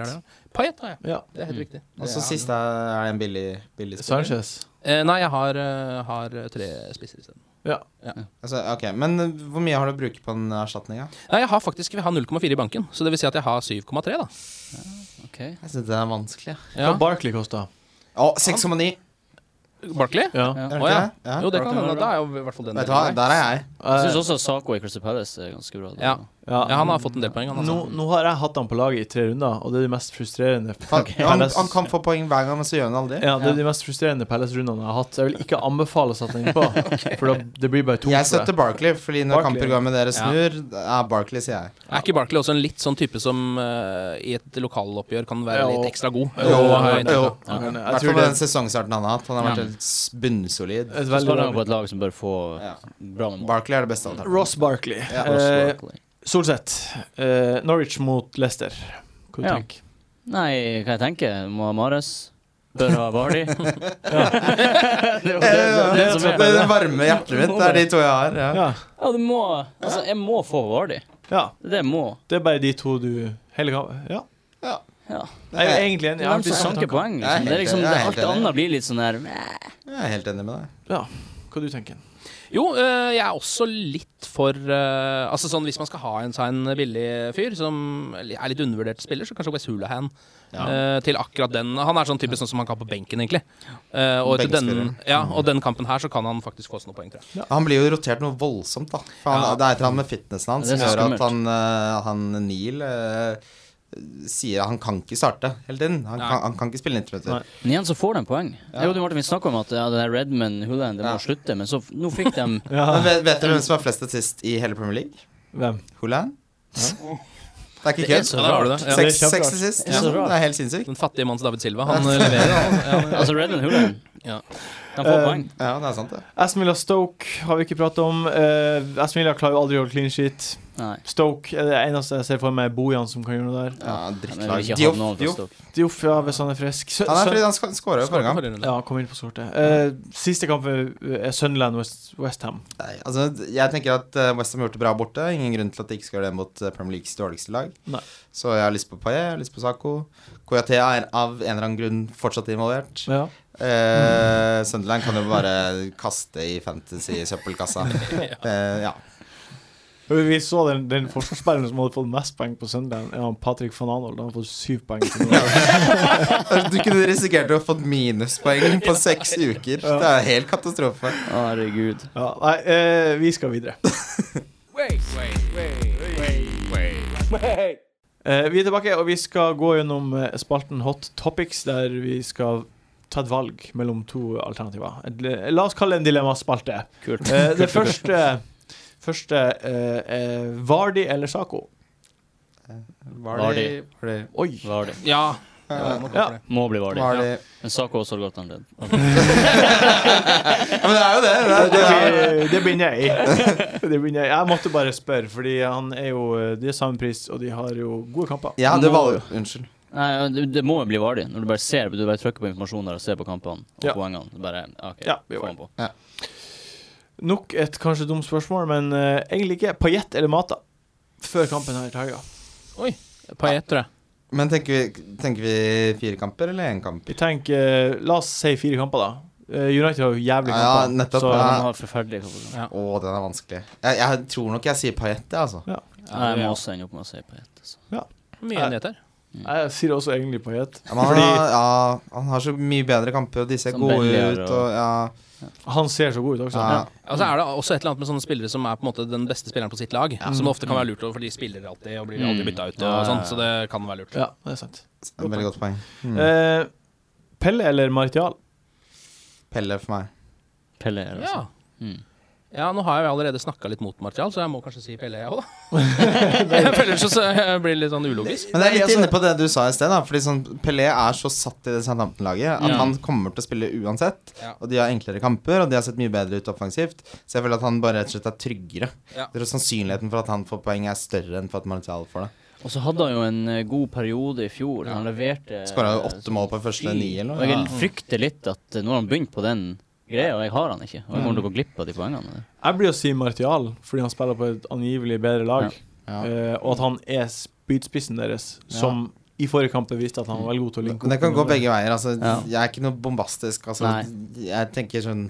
C: Payet har jeg.
A: Ja.
C: Det er helt riktig.
B: Og så
C: Det er-
B: siste er er det en billig, billig spiller.
A: Sanchez.
C: Eh, nei, jeg har, eh, har tre spisser isteden.
A: Ja.
B: Altså, ok, Men eh, hvor mye har du å bruke på en erstatning? da?
C: Nei, jeg har faktisk jeg har 0,4 i banken, så det vil si at jeg har 7,3, da.
D: Ok.
B: Jeg syns det er vanskelig.
A: Hva
C: Ja.
A: Barkley kosta?
B: Å, 6,9!
C: Barkley?
A: Ja.
D: Ja.
B: Er
C: Å,
B: det ikke
C: ja.
B: det? Ja.
C: Jo, det
D: Barkley
C: kan
D: var
C: hende.
D: bra.
C: Da er jo i hvert fall den
B: Vet du hva,
C: delen der.
B: der er jeg.
D: Jeg
A: Eh,
D: syns også Saco i Crystal Palace er ganske bra.
C: Ja.
A: ja.
C: ja, han har fått en del poeng, han
A: Nå,
C: altså.
A: nå har jeg hatt han på laget i tre runder, og det er de mest frustrerende
B: Han, han,
A: Palace-
B: han kan få poeng hver gang, men så gjør han det aldri.
A: Ja, det er de mest frustrerende Palace-rundene jeg har hatt. Så jeg vil ikke anbefale å sette den innpå, for da, det blir bare tungt
B: Jeg
A: for
B: støtter
A: deg.
B: Barkley, fordi når
A: Barkley.
B: kamper går med dere
C: Ja.
B: snur, ja. er Barkley, sier jeg.
C: Er ikke Barkley også en litt sånn type som eh, i et lokaloppgjør kan være
A: Jo.
C: litt ekstra god?
A: Jo,
C: har jeg inntrykk av.
B: jo.
A: Ja, men Jeg
B: I hvert fall
A: tror
B: med
A: det
B: den sesongstarten han har hatt. Han har
C: Ja.
B: vært helt s- bunnsolid.
A: er et
D: Så
A: veldig
D: spiller han på
A: bra
D: et lag som bør få
B: Ja.
D: bra med mål.
B: Barkley er det beste alternativet.
A: Ross Barkley.
B: Ja.
D: Ross
A: Eh,
D: Barkley.
A: Solseth. Eh, Norwich mot Leicester. Hva du
D: Ja.
A: tenker
D: Nei, hva jeg tenker? Må ha Mares. Bør ha Vardy. det er jo det, det,
B: Eh,
D: det
B: Det
D: som er
B: det er det varme hjertet mitt. Det er de to jeg har.
A: du?
B: Ja.
A: Ja.
D: Ja, du må Altså, jeg må få Vardy.
A: ja.
D: Det må.
A: Det er bare de to du Hele kampen Ja.
D: Ja.
A: Jeg
B: Eh,
A: er sånn. egentlig enig.
D: Det
A: Jeg
D: er
A: har
D: de som
A: de samme
D: sanker
A: tankene.
D: poeng.
B: Jeg er
D: Liksom. Det er
B: helt
D: liksom,
B: enig, jeg er helt
D: alt
B: enig.
D: annet blir litt sånn der meh.
B: Jeg er helt enig med deg.
A: Ja. Hva du tenker du?
C: Jo, eh, jeg er også litt for eh, Altså sånn Hvis man skal ha en, seg en billig fyr som er litt undervurdert spiller, så kanskje Wes Hulahan eh, til akkurat den. Han er sånn type sånn som han kan på benken, egentlig. Eh, og, til den,
B: Benkspiller.
C: ja, og den kampen her så kan han faktisk få seg noen poeng, tror jeg.
B: Han blir jo rotert noe voldsomt, da. For han,
C: Ja.
B: Det er et eller annet med fitnessen hans
D: Det er
B: som gjør
D: skummelt.
B: at han, eh, han Neil eh, sier han kan ikke starte hele tiden. Han
C: Nei.
B: kan, han kan ikke spille 90
A: Nei.
B: minutter.
D: Men igjen så får de poeng. Jeg og du, Martin, vi snakka om at ja, det der Redman Huland det må
B: Ja.
D: slutte, men så f- nå fikk de
B: Men vet, vet dere hvem som har flest assist i hele Premier League?
A: Hvem?
B: Haaland? Det er ikke
D: Det er
B: kødd.
D: så Ja, der har du det.
C: Ja.
A: det er
B: Seks
A: kjemperart.
B: seks assist.
D: Det er så
B: liksom.
D: rart.
B: Det er helt sinnssykt.
C: Den fattige manns David Silva, han eh, leverer. Han, ja,
D: Altså Redman Huland.
C: Ja.
D: De får
A: Eh,
D: poeng.
B: Ja, det er sant, det.
A: Aston Villa Stoke har vi ikke pratet om. Eh, Aston Villa klarer jo aldri å holde clean sheet.
D: Nei.
A: Stoke er det eneste jeg ser for meg er Bojan som kan gjøre noe der.
B: Ja,
D: Men jeg vil
B: drittlag.
D: ikke ha
B: Dioff.
D: noen
B: Dioff.
D: fra Stoke.
A: Dioff, ja, hvis han er frisk. Sø-
B: Han er
A: søn-
B: fordi han sk- skåra jo forrige gang.
C: forrige runde.
A: Ja, kom inn på sorte. Eh, siste kamp er er Sunderland West, West Ham.
B: Nei, altså, jeg tenker at eh, West Ham har gjort det bra borte. Ingen grunn til at de ikke skal gjøre det mot eh, Premier Leagues dårligste lag.
A: Nei.
B: Så jeg har lyst på Paillet, jeg har lyst på Sako. Koyatea er av en eller annen grunn fortsatt involvert.
A: Ja.
B: Eh, Sunderland kan jo bare kaste i fantasy-søppelkassa. Eh, ja. <laughs>
A: Vi så den, den forsvarsspilleren som hadde fått mest poeng på Sunderland, er han Patrick van Anold. Han har fått syv poeng. til nå.
B: Du kunne risikert å ha fått minuspoeng på seks uker. Det er helt katastrofe.
D: Herregud.
A: Ja, nei, eh, vi skal videre. Eh, vi er tilbake, og vi skal gå gjennom eh, spalten Hot Topics, der vi skal ta et valg mellom to alternativer. Et, eh, La oss kalle det en dilemmaspalte.
D: Kult.
A: Eh, det første, første eh, er Vardi eller Sako.
D: Var de-
B: Var de-
A: Oi.
D: Vardy.
C: Ja.
B: Ja,
C: må gå for
A: Ja.
C: det.
D: Må bli Vardy.
B: var de-
D: Men Sako også har gått han ledd.
B: Ja, Men det er jo det. det,
A: Det
B: er, det er.
A: blir- det blir nei. <laughs> Det blir nei. Jeg måtte bare spørre, fordi han er jo eh, De er samme pris, og de har jo gode kamper.
B: Jeg hadde valg... Unnskyld.
D: Nei, det, det må jo bli Vardy. Når du bare ser Du bare trykker på informasjonen der og ser på kampene og
A: Ja.
D: poengene. Bare, ok,
A: Ja, vi
D: få
A: var-
D: han på.
A: Nok et kanskje dumt spørsmål, men eh, egentlig ikke. Paillett eller Mata før kampen her i helga?
C: Paillet, E, tror jeg.
B: Men tenker vi, tenker vi fire kamper eller én kamp?
A: Vi tenker eh, La oss si fire kamper, da. Eh, United har jo jævlig
B: Ja,
A: kamper.
B: nettopp,
A: så,
B: ja.
D: Han har forferdelig kamp.
B: Å, den er vanskelig. Jeg, jeg tror nok jeg sier Paillette, jeg, altså.
D: Jeg må også ende opp med å si Paillette. altså.
C: Mye enighet her.
A: Jeg sier også egentlig Paillett.
B: Ja, men han,
A: Fordi-
B: har, ja, han har så mye bedre kamper, og disse er
D: Som
B: gode
D: Bellier
B: ut.
D: og-
B: Og, ja,
A: Han ser så god ut også.
B: ja.
C: Og så Altså, er det også et eller annet med sånne spillere som er på en måte den beste spilleren på sitt lag. Som det ofte kan være lurt over, for de spiller alltid og blir aldri
D: Mm.
C: bytta ut.
D: Ja, ja,
C: Og sånt,
D: ja.
C: så det kan være lurt.
A: Ja, det er sant.
B: det er et Veldig godt poeng. Mm.
A: Eh, Pelle eller Martial?
B: Pelle for meg.
D: Pelle er
C: Ja.
D: altså. Mm.
C: ja, nå har jeg jo allerede snakka litt mot Martial, så jeg må kanskje si Pelle, jeg
D: <laughs>
C: òg, da. <laughs> jeg føler så, så jeg blir litt sånn ulogisk.
B: Men jeg er
A: Nei,
B: litt
A: altså-
B: inne på det du sa i sted, da. Fordi sånn, Pelé er så satt i det Southampton-laget at
D: Ja.
B: han kommer til å spille uansett.
C: Ja.
B: Og de har enklere kamper, og de har sett mye bedre ut offensivt. Så jeg føler at han bare rett og slett er tryggere.
C: Ja.
B: Jeg tror sannsynligheten for at han får poeng, er større enn for at Martial får det.
D: Og så hadde han jo en eh, god periode i fjor. Han leverte
B: Skåra jo
D: eh,
B: åtte mål på de første ni, eller
D: Og
B: noe.
D: jeg frykter litt at eh, nå har han begynt på den greia, og jeg har han ikke. Og
B: Mm.
D: jeg kommer til å gå glipp av de poengene.
A: Jeg blir å si Martial fordi han spiller på et angivelig bedre lag,
B: Ja.
A: eh, og at han er spydspissen deres, som i forrige kamp viste at han var veldig god til å linke
B: Men det kan gå
A: hverandre.
B: begge veier. Altså,
D: Ja.
B: Jeg er ikke noe bombastisk. Altså, jeg tenker sånn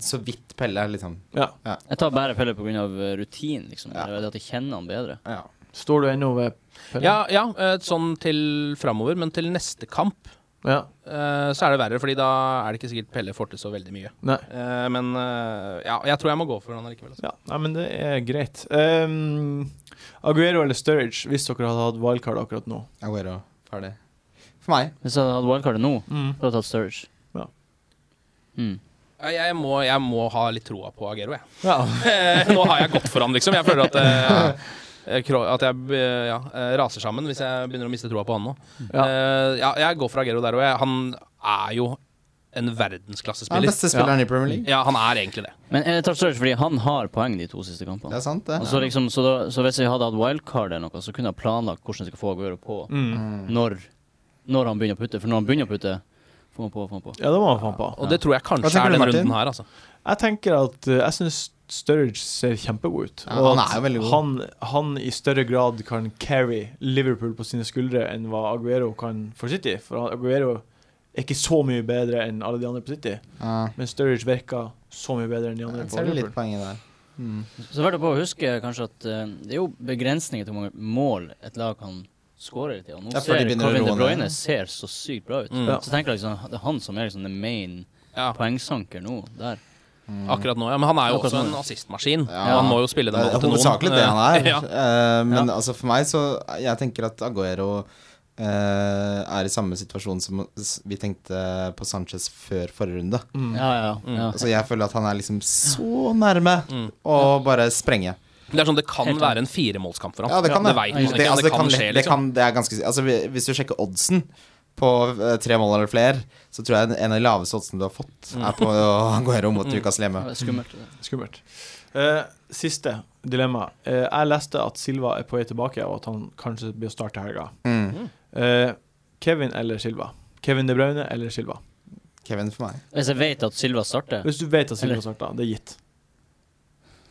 B: så vidt Pelle, liksom.
A: Ja.
D: Jeg tar bare Pelle pga. rutinen, liksom.
B: Ja.
D: Det er at jeg kjenner han bedre.
B: Ja.
A: Står du ennå ved Pelle?
C: Ja, ja, eh, sånn til framover, men til neste kamp
A: Ja.
C: eh, så er det verre, fordi da er det ikke sikkert Pelle får til så veldig mye.
A: Nei.
C: Eh, Men eh, ja, jeg tror jeg må gå for han allikevel. Altså.
A: Ja, nei, men det er greit. Ehm, Aguero eller Sturridge, hvis dere hadde hatt wildcard akkurat nå?
B: Aguero. Ferdig. For meg.
D: Hvis jeg hadde hatt wildcardet nå, hadde jeg tatt Sturridge.
A: Ja.
D: Mm.
C: Ja, Jeg må, jeg må ha litt troa på Agero, jeg.
A: Ja.
C: Eh, Nå har jeg <laughs> gått for han, liksom. Jeg føler at eh, eh, kro- at jeg eh, ja, eh, raser sammen hvis jeg begynner å miste troa på han nå.
A: Ja.
C: Eh, ja, jeg går for Agero der òg. Han er jo en
B: Han er den
C: verdensklassespiller.
B: beste spilleren i Premier League.
C: Ja, han er egentlig det.
D: Men jeg tar Sturridge fordi han har poeng de to siste
B: Det
D: kampene.
B: er sant, det.
D: Og så, liksom, så, da, så hvis jeg hadde hatt wildcard eller noe, så kunne jeg planlagt hvordan jeg skal få Aguero på
A: Mm.
B: Mm.
D: når, når han begynner å putte. For når han begynner å putte, får han på, får han på.
A: ja, det må man faen på.
C: Og det tror jeg kanskje er
B: tenker du,
C: den
B: Martin?
C: runden her, altså.
A: Jeg tenker at eh, Jeg syns Sturridge ser kjempegod ut.
B: Ja,
A: og
B: han
A: at
B: er jo veldig god.
A: Han, han i større grad kan carry Liverpool på sine skuldre enn hva Aguero kan for City. For Aguero er ikke så mye bedre enn alle de andre på City,
B: Ja.
A: men Sturridge virker så mye bedre enn de andre
B: Jeg
A: på
B: ser du litt
A: Liverpool.
B: poenget der.
D: Så er det bare å huske kanskje at eh, det er jo begrensninger til hvor mange mål et lag kan skåre i tida. Nå
B: Ja, for
D: ser
B: de begynner å
D: Kevin De
B: roe ned.
D: Bruyne ser så sykt bra ut.
C: Mm.
D: Så tenker jeg liksom, det er han som er liksom the main
C: Ja,
D: poengsanker nå, der.
C: akkurat nå, ja. Men han er jo
D: Akkurat
C: også
D: nå,
C: en
D: ja.
C: assistmaskin.
B: Ja.
C: Han må jo spille
B: Det
C: den
B: er
C: ballen til noen.
B: hovedsakelig det han er.
C: <laughs> Ja.
B: Eh, men altså for meg så Jeg tenker at Aguero eh, er i samme situasjon som s- vi tenkte på Sanchez før forrige runde.
D: Ja, ja, ja.
B: Så jeg føler at han Mm. er liksom så nærme å bare sprenge.
C: Det er sånn, det kan
D: Helt
C: være en firemålskamp for ham.
B: Ja, det kan det.
C: Det, vet man
B: Det,
C: ikke, men
B: altså, det, kan,
C: det kan skje,
B: lett- det
C: liksom.
B: kan, det er ganske si- altså, vi- Hvis du sjekker oddsen på eh, tre mål eller flere, så tror jeg en- en av de laveste oddsene du har fått, er på <laughs> Aguero mot Newcastle hjemme.
D: Ja, det er Skummelt. det.
A: Skummelt. Eh, siste dilemma. Eh, jeg leste at Silva er på vei tilbake, og at han kanskje blir å starte helga.
B: Mm.
A: Eh, Kevin eller Silva? Kevin De Bruyne eller Silva?
B: Kevin for meg.
D: Hvis jeg vet at Silva starter
A: Hvis du vet at Silva
D: Eller-
A: starter, det er gitt.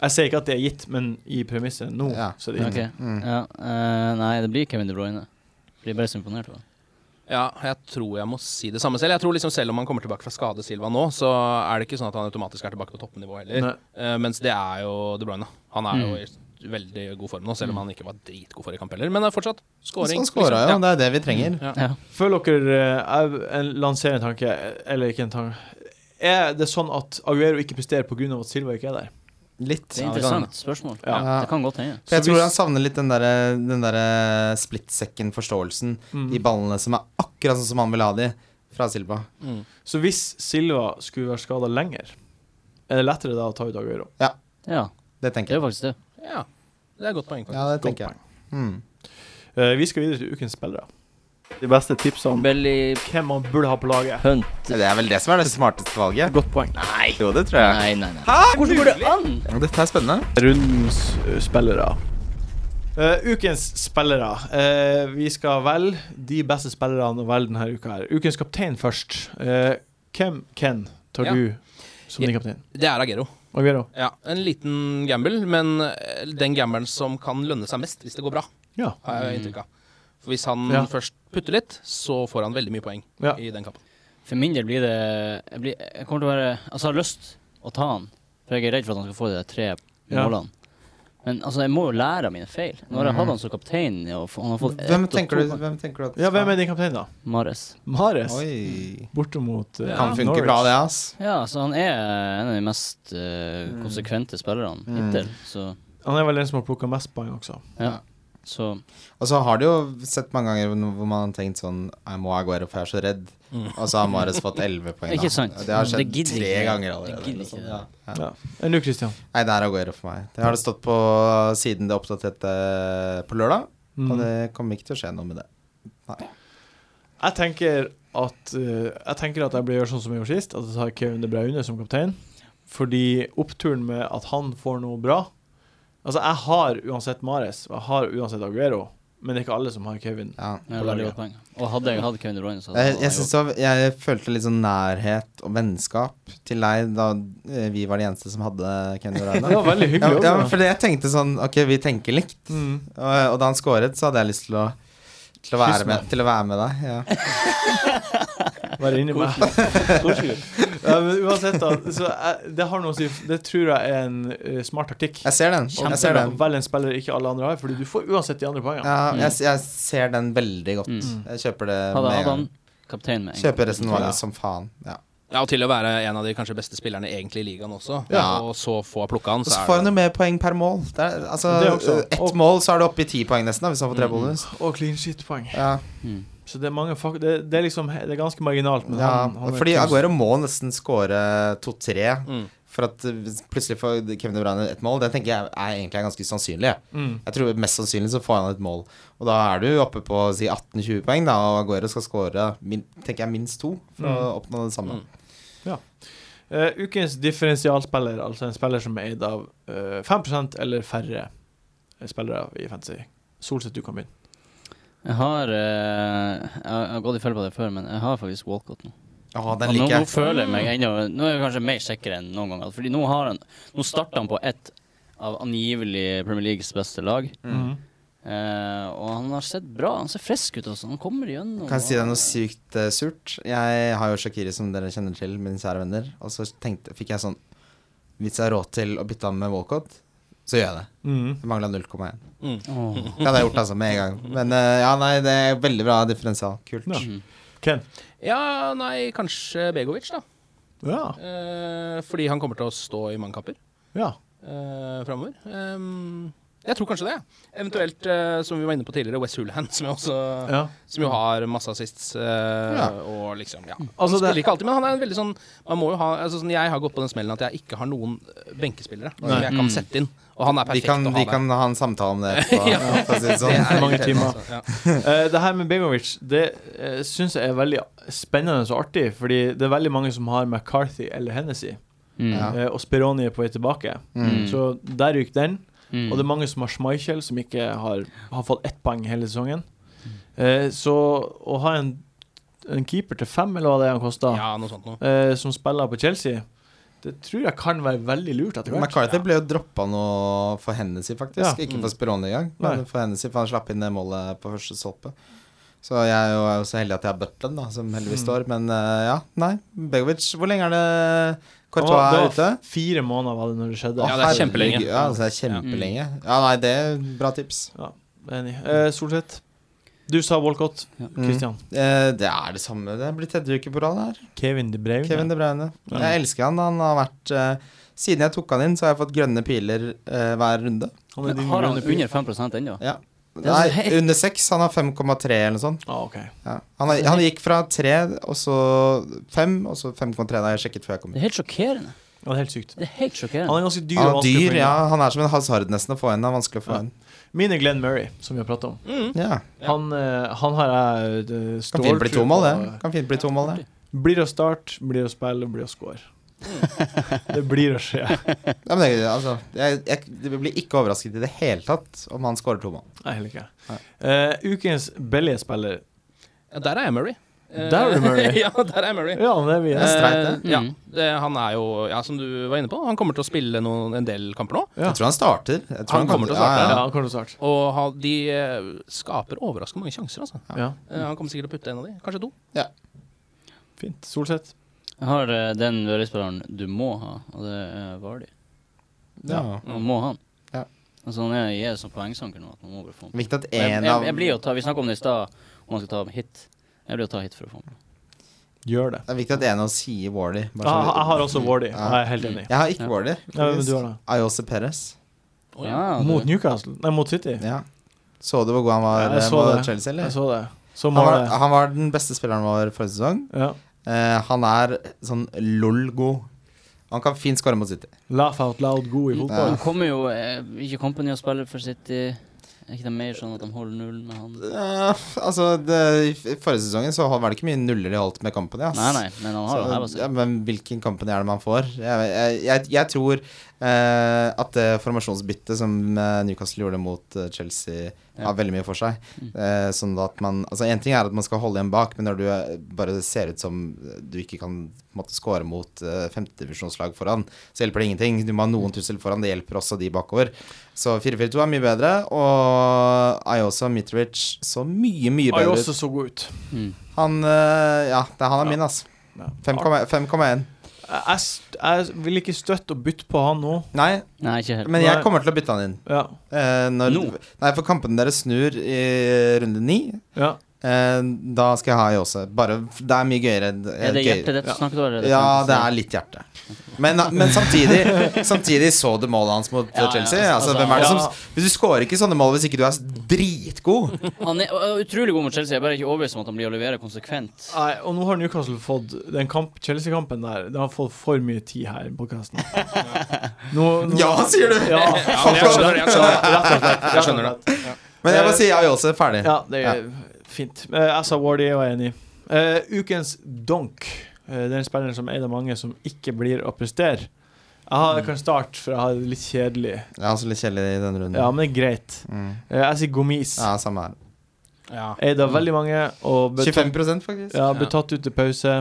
A: Jeg sier ikke at det er gitt, men i premisset nå,
B: Ja.
A: så er det
D: Ok.
A: gitt.
B: Mm.
D: Ja, eh, nei, det blir Kevin De Bruyne. Blir bare så imponert over.
C: Ja, jeg tror jeg må si det samme selv. Jeg tror liksom Selv om han kommer tilbake fra skade, Silva, nå, så er det ikke sånn at han automatisk er tilbake på toppnivå heller.
A: Nei.
C: Eh, mens det er jo De Bruyne. Han er
B: Mm.
C: jo i veldig god form nå, selv om han ikke var dritgod forrige kamp heller. Men det er fortsatt
B: Så
C: scoring.
B: Sånn han skåra jo,
C: liksom.
B: det er det vi trenger.
C: Ja.
D: Ja.
A: Føler dere eh, Jeg en- lanserer en tanke, eller ikke en tanke. Er det sånn at Aguero ikke presterer pga. at Silva ikke er der?
B: Litt.
D: Det er
B: Ja, det kan-
D: interessant spørsmål.
A: Ja.
D: Ja, det kan godt hende.
B: For jeg
A: Så
B: tror
A: hvis-
B: han savner litt den derre den derre splittsekken-forståelsen. De ballene som er akkurat sånn som han vil ha de fra Silva.
A: Så hvis Silva skulle være skada lenger, er det lettere da å ta ut Aguero?
D: Ja,
B: Det
D: det
B: tenker
D: er
B: jeg.
D: jo faktisk det.
C: ja, det er et godt poeng. faktisk.
B: Ja, det
A: Godt
B: tenker jeg. Mm.
A: Eh, vi skal videre til ukens spillere. De beste tipsene
B: Sånn.
A: om
D: Belly
A: hvem man burde ha på laget.
D: Hunt.
B: Det er vel det som er det smarteste valget.
A: Godt poeng.
B: Nei. Jo, det tror jeg.
D: Nei, nei, nei. Hæ? Hvordan går det an?
B: Dette er spennende.
A: Rundens eh, spillere. Eh, ukens spillere. Eh, vi skal velge de beste spillerne å velge denne uka. her Ukens kaptein først. Eh, hvem, Ken, tar
C: Ja.
A: du som din kaptein?
C: Det er Agero.
A: Aguero.
C: Ja, En liten gamble, men eh, den gambelen som kan lønne seg mest hvis det går bra.
A: Ja.
C: har
B: Mm.
C: jeg inntrykk av. For hvis han
A: Ja.
C: først putter litt, så får han veldig mye poeng
A: Ja.
C: i den kampen.
D: For min del blir det Jeg, blir, jeg kommer til å være Altså, jeg har lyst å ta han. For jeg er redd for at han skal få de der tre
A: Ja.
D: målene. Men altså, jeg må jo lære av mine feil. Nå har jeg hatt han som kaptein, og f- han har fått
B: Mhm. Hvem
D: og
B: tenker, du,
D: to-
B: hvem tenker du at
A: ja, hvem er din kaptein, da?
D: Mares.
A: Mares.
B: Oi.
A: Borte mot eh,
B: Kan funke
A: Norwich.
B: bra, det, ass.
D: Ja, så han er en av de mest eh,
B: Mhm.
D: konsekvente spillerne hittil. Så,
A: Han er vel den som har plukka mest poeng også.
D: ja. så
B: Og så har du jo sett mange ganger no- hvor man har tenkt sånn Jeg må Aguero, for jeg er så redd. Og så har Mares fått 11 poeng. da.
D: Mm. Ikke sant.
B: Det har skjedd
D: Det gidder
B: tre
D: ikke.
B: ganger
D: Det
B: allerede.
D: gidder
B: eller sånn,
D: ikke.
B: ja. Ja.
A: Ja. Enn du, Christian?
B: Nei, det er Aguero for meg. Det har det stått på siden det oppdaterte på lørdag.
A: Mm.
B: Og det kommer ikke til å skje noe med det. Nei.
A: Jeg tenker at eh, Jeg tenker at jeg blir gjort sånn som jeg gjorde sist, at jeg tar Kevin De Bruyne som kaptein. Fordi oppturen med at han får noe bra Altså, jeg har uansett Mares, og jeg har uansett Aguero, men det er ikke alle som har Kevin.
B: Ja.
D: ja, veldig godt poeng. Og hadde jeg hatt Kevin De Bruyne, så hadde
B: Jeg, jeg,
D: han gjort-
B: synes det var- jeg følte litt sånn nærhet og vennskap til deg da eh, vi var de eneste som hadde
A: <laughs>
B: Kenny
A: Det
B: Rana.
A: var veldig
B: Ja,
A: hyggelig.
B: ja,
A: også.
B: for det jeg tenkte sånn Ok, vi tenker likt.
A: Mm.
B: Og, og da han scoret, så hadde jeg lyst til å til å, være med, til å være med deg. Ja.
A: Bare inni meg. <laughs> ja, men uansett, da. Så jeg, det har noe å si. Det tror jeg er en eh, smart taktikk.
B: Jeg ser den. Jeg
A: Kjempebra.
B: ser den.
A: Velg en spiller ikke alle andre har, Fordi du får uansett de andre poengene.
B: Ja, jeg, jeg ser den veldig godt.
D: Mm.
B: Jeg kjøper det
D: Hadde
B: med
D: jeg
B: en
D: hatt
B: gang.
D: han kaptein med en gang.
B: Kjøper resonnementet
A: Ja.
B: som faen. Ja.
C: Ja, Og til å være en av de kanskje beste spillerne egentlig i ligaen også,
B: Ja.
C: og så få plukka han,
B: Og så
C: så
B: får
C: er
B: han
C: det
B: jo mer poeng per mål. Det er, altså,
A: Det er også-
B: Ett
A: og-
B: mål, så er du oppe i ti poeng nesten, da, hvis han får tre
D: Mm.
B: bonus.
A: Og clean shit-poeng.
B: Ja.
A: Så det er mange fak det, det er liksom Det er ganske marginalt. Men
B: Ja.
A: han, han er
B: Fordi
A: kunst-
B: Aguero må nesten score to-tre.
C: Mm.
B: For at uh, hvis plutselig får Kevin De Bruyne et mål. Det tenker jeg er egentlig er ganske sannsynlig. jeg.
A: Mm.
B: Jeg tror Mest sannsynlig så får han et mål. Og da er du oppe på si 18-20 poeng, da, og Aguero skal score min, tenker jeg, minst to for å oppnå det samme.
C: Mm.
A: Eh, ukens differensialspiller, altså en spiller som er eid av eh, 5 eller færre eh, spillere i fantasy. Solseth, du kan begynne.
D: Jeg har eh, jeg, jeg har gått i felle på det før, men jeg har faktisk Walcott nå.
B: Ja,
D: Og
B: den
D: nå,
B: liker
D: nå
B: jeg.
D: føler jeg meg ennå Nå er jeg kanskje mer sikker enn noen gang. Fordi nå har han Nå starter han på ett av angivelig Premier Leagues beste lag.
A: Mhm.
D: Eh, og han har sett bra Han ser frisk ut også. Han kommer igjennom.
B: Kan jeg si deg
D: og-
B: noe sykt eh, surt? Jeg har jo Shakiri, som dere kjenner til, mine kjære venner. Og så tenkte, fikk jeg sånn Hvis jeg har råd til å bytte ham med Walcott, så gjør jeg det.
A: Mhm.
B: Det mangla 0,1.
D: Åh.
B: <laughs> Det hadde jeg gjort altså med en gang. Men eh, ja, nei, det er veldig bra differensial. Kult.
A: Ja. Ken?
C: Ja, nei, kanskje Begovic, da.
A: Ja.
C: Eh, fordi han kommer til å stå i mange kamper
A: ja.
C: eh, framover. Ehm, jeg tror kanskje det. ja. Eventuelt, eh, som vi var inne på tidligere, West Hulhan, som, jeg også,
A: ja.
C: som jo har masse assists. eh, Og liksom, ja.
A: Altså,
C: Han
A: det-
C: spiller ikke alltid, men han er en veldig sånn Man må jo ha altså, sånn, Jeg har gått på den smellen at jeg ikke har noen eh, benkespillere som jeg kan sette inn. Og han er
B: Vi
C: perfekt
B: kan,
C: å ha
B: vi kan ha en samtale om det
C: <laughs>
B: etterpå.
C: Ja.
B: for å si det
C: der.
B: sånn.
A: er mange
C: irriterende,
A: timer.
C: altså, ja.
A: Eh, det her med Begovic Det uh, syns jeg er veldig spennende og artig, fordi det er veldig mange som har McCarthy eller Hennessy,
D: Mm.
B: Ja.
A: eh, og Speroni er på vei tilbake.
D: Mm.
A: Så der ryker den.
D: Mm.
A: Og det er mange som har Schmeichel, som ikke har, har fått ett poeng hele sesongen.
D: Mm.
A: Eh, så å ha en, en keeper til fem, eller hva det er han kosta,
C: ja, noe sånt noe.
A: eh, som spiller på Chelsea, det tror jeg kan være veldig lurt etter hvert.
B: McCarthy ble jo droppa nå for Hennessy, faktisk.
A: Ja.
D: Mm.
B: Ikke for Speroni engang, men
A: Nei.
B: for Hennessy, for han slapp inn det målet på første stolpe. Så jeg er jo er jo så heldig at jeg har Butland, da, som heldigvis står. Men eh, ja, nei. Begovic, hvor lenge er det
A: Det var-
B: Courtois er
A: det var
B: ute?
A: Fire måneder var det når det skjedde.
C: Ja, det er
B: Å,
C: kjempelenge.
B: herregud, Ja, altså, det er kjempelenge. Ja, nei, det er bra tips.
A: Enig. Eh, Solseth, du sa Walcott.
D: Ja.
A: Christian.
B: Eh, det er det samme. Det blir tredje uke på rad her.
A: Kevin De Bruyne.
B: Kevin De Bruyne.
A: Ja.
B: Jeg elsker han. Han har vært eh, Siden jeg tok han inn, så har jeg fått grønne piler eh, hver runde.
A: Han er
D: Men
A: din
D: har han
A: grønne pil.
D: under 5 ennå?
B: Ja.
D: er så
B: Nei,
D: helt-
B: under seks. Han har 5,3 eller noe sånt.
A: Ah, ok.
B: Ja. Han, har- han gikk fra tre, og så fem, og så 5,3 da jeg sjekket før jeg kom
D: Det er
B: inn.
D: helt sjokkerende.
A: Ja, det er helt sykt.
D: Det er helt sjokkerende.
A: Han er ganske dyr.
B: Han
A: og vanskelig å
B: er
A: få
B: dyr,
A: inn.
B: ja. Han er som en hasard nesten å få inn. Han er vanskelig å få inn.
A: Min er Glenn Murray, som vi har pratet om.
B: Ja.
A: Han, eh, han har jeg eh,
B: Kan fint
A: ståltro
B: bli to mål, det.
A: på.
B: Kan fint bli to mål, det.
A: Blir å starte, blir å spille, blir å score.
B: Mm.
A: det blir å skje.
B: Ja, men det, altså, jeg, jeg, jeg blir ikke overrasket i det hele tatt om han scorer to mål.
A: Nei, heller ikke. Eh, ukens billige spiller.
C: Ja, der er Emery. Eh,
A: Der er det Murray.
C: <laughs> ja, der er Murray.
A: Ja, det er vi.
B: Det er streit,
C: Eh,
B: det.
C: ja,
D: Mm.
C: det- han er jo, ja, som du var inne på, han kommer til å spille noen, en del kamper nå.
A: Ja.
B: Jeg tror han starter. Jeg tror
C: Han kommer til å starte,
A: Ja,
B: ja, ja.
A: han kommer til å starte.
C: Og ha, de eh, skaper overraskende mange sjanser, altså.
A: Ja,
C: Eh, han kommer sikkert til å putte en av de, kanskje to.
A: fint. Solseth.
D: Jeg har eh, den Vørøy-spilleren du må ha, og det er Vardy.
B: Ja.
D: Man må ha han.
B: Mm. Ja.
D: Altså, han er, er sånn poengsanker nå at man må bare få han.
B: Viktig at
D: Og Jeg,
B: en
D: jeg,
B: av
D: jeg blir jo ta, Vi snakket om det i stad, om man skal ta hit. Jeg blir jo ta hit for å få han.
A: Gjør det.
B: Det er viktig at en av oss sier Warley.
A: Jeg, jeg har også Wardy.
B: Ja.
A: Jeg er helt enig.
B: Jeg har ikke
D: Ja.
B: Warley.
A: Ja, men du har det.
B: Ayose Perez.
C: Å, ja.
D: det-
A: Mot Newcastle. Nei, mot City.
B: Ja. Så du hvor god han var
A: Ja, jeg
B: eh,
A: så
B: mot
A: det.
B: Chelsea, eller?
A: Jeg så det. Så
B: Han
A: må
B: var,
A: det
B: han var den beste spilleren vår forrige sesong.
A: ja.
B: Eh, han er sånn lol-god. Han kan fint skåre mot City.
A: Laugh out loud god i fotball.
D: Han kommer jo eh, ikke Company og spiller for City. Er ikke det mer sånn at de holder nullen med han?
B: Eh, altså, det, i forrige sesongen så var det ikke mye nuller de holdt med Company. Ass.
D: Nei, nei, men han har jo heva
B: Så, ja,
D: seg.
B: men hvilken Company er det man får? Jeg, jeg, jeg, jeg tror eh, at det formasjonsbyttet som eh, Newcastle gjorde mot eh, Chelsea, har veldig mye for seg.
D: Mm.
B: Eh, sånn at man Altså, én ting er at man skal holde igjen bak, men når du eh, bare ser ut som eh, du ikke kan på en måte score mot eh, femtedivisjonslag foran, så hjelper det ingenting. Du må ha noen tussel foran, det hjelper også de bakover. Så 4-4-2 er mye bedre, og Ayosa Mitrovic så mye, mye
A: Har jo
B: bedre
A: også
B: ut.
A: så god ut.
D: Mm.
B: Han eh, Ja, det er han
A: Ja.
B: er min, altså.
A: Ja.
B: 5,1.
A: Jeg, jeg st- jeg vil ikke støtte å bytte på han nå.
B: Nei,
D: Nei, ikke helt.
B: Men
A: Nei.
B: jeg kommer til å bytte han inn.
A: Ja.
B: Eh, når,
D: Nå?
B: Nei, for kampene deres snur i runde ni.
A: ja.
B: Eh, da skal jeg ha Jose. Bare f- Det er mye gøyere. eh,
D: Er det
B: gøy-
D: hjertet liksom? ditt
A: Ja.
D: du snakker om? eller
B: Ja, det er
D: fantasy?
B: litt hjerte. Men, men
D: <laughs>
B: samtidig Samtidig så du målet hans mot
D: Ja, ja,
B: Chelsea.
D: altså,
B: altså, hvem er det
A: ja.
B: som Hvis du scorer ikke sånne mål hvis ikke du er s- dritgod
D: Han er ø, utrolig god mot Chelsea. Jeg er bare ikke overbevist om at han blir å levere konsekvent.
A: Nei, og nå har Newcastle fått Den kamp, Chelsea-kampen der Den har fått for mye tid her i podkasten.
B: Ja, sier du!
A: Ja,
C: men jeg skjønner det, jeg skjønner det.
A: Rett og slett.
C: Jeg skjønner det.
B: Men jeg må si ja, Jose. Ferdig.
A: Ja, det er fint. Eh, Jeg sa Wardy og jeg er enig. Eh, ukens donk. Eh, det er en spiller som er en av mange som ikke blir å prestere. Jeg har, jeg kan starte, for jeg har det litt kjedelig.
B: Jeg er også litt kjedelig i denne runden.
A: Ja, men det er greit.
B: Mm.
A: Eh, jeg sier Gomis.
B: ja samme her.
C: Ja.
A: Eid av veldig mange og ble, tatt,
B: 25 faktisk.
A: ja, ble tatt ut til pause.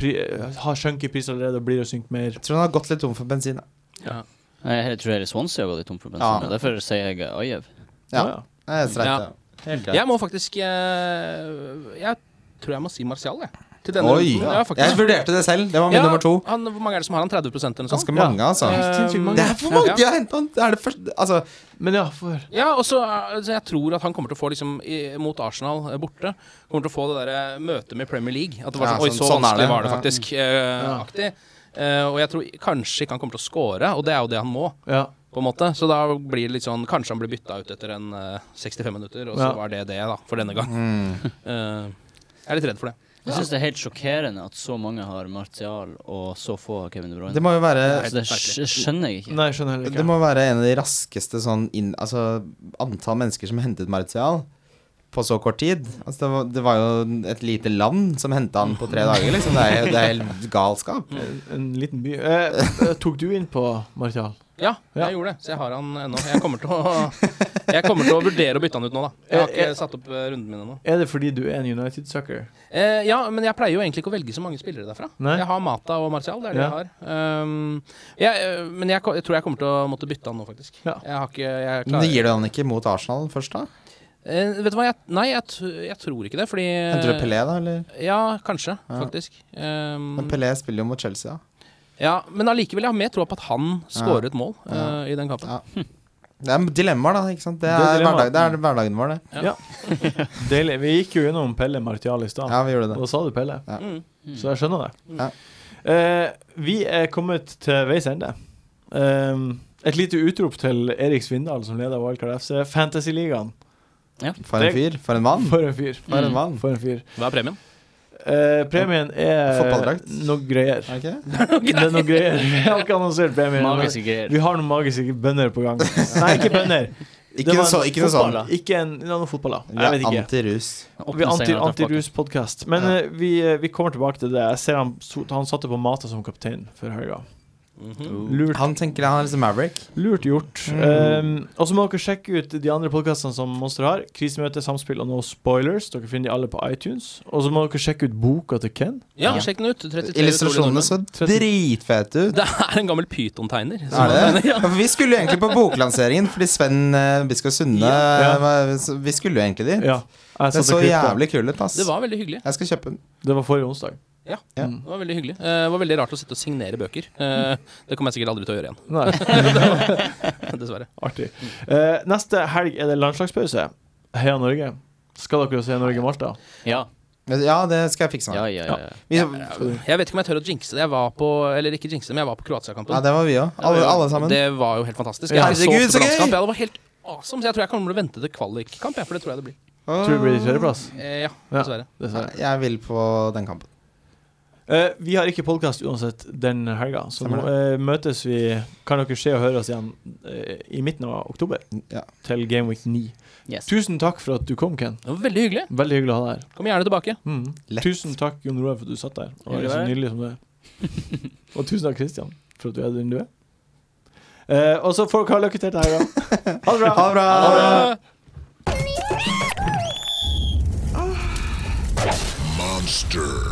A: Pri, har sunket i pris allerede og blir å synke mer.
B: Jeg tror han har gått litt tom for bensin. da.
D: Jeg tror hele Swansea har gått i tom for bensin.
B: Ja.
D: og Derfor sier jeg Ajev.
B: Ja.
A: Ja,
B: Det er streit,
C: Ja.
B: ja. Helt greit.
C: Jeg må faktisk eh, Jeg tror jeg må si Martial, jeg. Til denne
B: Oi!
C: runden. Ja,
B: jeg
C: faktisk.
B: vurderte det selv. Det var min
C: Ja, Eh,
B: nummer to.
C: Han, hvor mange er det som har han? 30 eller noe sånt?
B: Ganske
A: Ja.
B: mange, altså.
A: Ja. Sinnssykt mange.
B: Det er for mange! Jeg hentet han. Det er det første Altså,
A: Men ja, for
C: Ja, og så altså, Jeg tror at han kommer til å få, liksom, i, mot Arsenal eh, borte, kommer til å få det der eh, møtet med Premier League. At det var
B: Ja,
C: sånn Oi,
B: sånn-
C: så
B: sånn er
C: vanskelig
B: det.
C: var det
B: Ja.
C: faktisk. eh,
A: Ja.
C: aktig. Eh, og jeg tror kanskje ikke han kommer til å score, og det er jo det han må.
A: Ja.
C: på en måte Så da blir det litt sånn Kanskje han blir bytta ut etter en eh, 65 minutter, og så
A: Ja.
C: var det det, da, for denne gang.
B: Mm.
C: Eh, jeg er litt redd for det.
D: Jeg syns det er helt sjokkerende at så mange har Martial, og så få har Kevin De Bruyne.
B: det må jo være
D: Altså, det skj- skjønner jeg ikke.
A: Nei, jeg skjønner heller
B: Det
A: ikke.
B: må være en av de raskeste sånn inn, altså, antall mennesker som hentet Martial på så kort tid. Altså, det, var, det var jo et lite land som henta han på tre dager, liksom. Det er, det er
C: <laughs>
B: helt galskap.
A: En- En liten by. Eh, eh, tok du inn på Martial?
C: Ja, jeg
A: Ja.
C: gjorde det, så jeg har han ennå. Jeg kommer til å Jeg kommer til å vurdere å bytte han ut nå, da. Jeg har
A: Eh, eh.
C: ikke satt opp eh, runden min ennå.
A: Er det fordi du er en United-sucker?
C: Eh, ja, men jeg pleier jo egentlig ikke å velge så mange spillere derfra.
A: Nei.
C: Jeg har Mata og Martial, det er det
A: Ja.
C: jeg har. Um, jeg, eh, men jeg, ko- jeg tror jeg kommer til å måtte bytte han nå, faktisk.
A: Ja.
C: Jeg har ikke jeg
B: Men
C: klarer,
B: gir du han ikke mot Arsenal først, da?
C: eh, Vet du hva, jeg, nei, jeg, t- jeg tror ikke det, fordi
B: Henter
C: Eh,
B: du Pelé, da? Eller?
C: Ja, kanskje,
B: Ja.
C: faktisk. Um,
B: Men Pelé spiller jo mot Chelsea, da.
C: Ja, men allikevel, jeg har mer troa på at han scorer et mål
B: Ja.
C: eh, i den kampen.
B: Ja. Det er dilemmaer, da. ikke sant? Det
A: Det er
B: er,
A: dilemmaer.
B: hverdag, det er hverdagen vår, det.
C: Ja.
A: Ja. Deilig. Vi gikk jo gjennom Pelle Martial i stad.
B: Ja, vi gjorde det.
A: Da sa du Pelle,
B: Ja.
C: Mm.
A: så jeg skjønner det.
B: Ja.
A: Eh, vi er kommet til veis ende. Ehm, et lite utrop til Erik Svindal, som leder Wildcard FC. Fantasyligaen.
B: For en fyr. For en
A: <laughs>
B: mann.
A: For en fyr.
B: For en mann.
A: For en fyr.
C: Hva er premien?
A: Eh, premien er
B: Fotballdrakt.
A: noe greier.
B: Er det ikke det?
A: Det er noe greier. <laughs> Vi har ikke annonsert premien.
D: Magiske greier.
A: Vi har noen magiske bønner på gang. Nei,
B: <laughs>
A: ikke bønner. Det
B: Ikke
A: var en
B: noe, så, ikke noe
A: fotball,
B: sånn.
A: da. Ikke en, ja, noe fotball, da.
B: Vi
A: Jeg
B: er
A: vet ikke.
B: antirus.
A: Vi er
D: Åpne
A: anti,
D: senga og ta tilbake.
A: antiruspodkast. Men
B: Ja.
A: eh, vi, vi kommer tilbake til det. Jeg ser han, so- han satte på Mata som kaptein før helga.
C: Mhm.
B: Uh.
A: Lurt
B: Han tenker han er liksom Maverick.
A: Lurt gjort. Um, og så må dere sjekke ut de andre podkastene som Monster har. Krisemøte, Samspill og No Spoilers. Dere finner de alle på iTunes. Og så må dere sjekke ut boka til Ken.
C: Ja,
D: Ja.
C: sjekk den ut. 33
B: Illustrasjonene
C: utrolige
B: så dritfete
C: nordmenn.
B: ut.
C: Det er en gammel pytontegner. som-
B: Er det? Ja, for vi skulle jo egentlig på boklanseringen, fordi Sven eh, Biskov Sunde
A: Ja.
B: eh, var- Vi skulle jo egentlig dit.
A: Ja, jeg
B: Den
A: satte
B: så
A: klipp på den.
B: jævlig kul ut, ass.
C: Det var veldig hyggelig.
B: Jeg skal kjøpe den.
A: Det var forrige onsdag.
C: Det var veldig hyggelig. Eh, Det var veldig rart å sitte og signere bøker. Eh, Det kommer jeg sikkert aldri til å gjøre igjen.
A: Nei,
C: <laughs> Dessverre.
A: artig. Eh, neste helg er det landslagspause. Heia Norge. Skal dere se Norge-Malta?
D: Ja,
B: Men Ja, det skal jeg fikse.
D: ja,
B: meg.
D: ja. ja.
B: Vi,
C: Jeg vet ikke om jeg tør å jinxe det. Jeg var på Eller ikke jinxe det, men jeg var på Kroatia-kampen.
B: ja, det var vi òg. Alle, alle sammen.
C: Det var jo helt fantastisk.
B: Ja.
C: Jeg så
B: Herregud, så
C: på landskamp.
B: gøy!
C: Ja, det var helt awesome. Så jeg tror jeg kommer til å vente til kvalikkamp, jeg, for det tror jeg det blir.
A: Tror det blir tredjeplass.
C: Eh, Ja,
A: Ja.
C: dessverre.
A: Dessverre.
B: Jeg vil på den kampen.
A: Eh, vi har ikke podkast uansett den helga, så nå
B: Stemmer
A: eh, møtes vi Kan dere se og høre oss igjen eh, i midten av oktober,
B: Ja.
A: til Game Week 9.
D: Yes.
A: Tusen takk for at du kom, Ken.
C: Det var veldig hyggelig.
A: Veldig hyggelig å ha deg her.
C: Kom gjerne tilbake.
A: Mm.
B: Lett.
A: Tusen takk, Jon Roar, for at du satt der og er
D: Hyggelig
A: så
D: å være her.
A: nydelig som du er.
D: <laughs>
A: Og tusen takk, Kristian, for at du er den du er. Eh, og så får dere ha lykke til til helga. Ha det bra.
B: Ha det bra!
C: Eh,
E: Monster.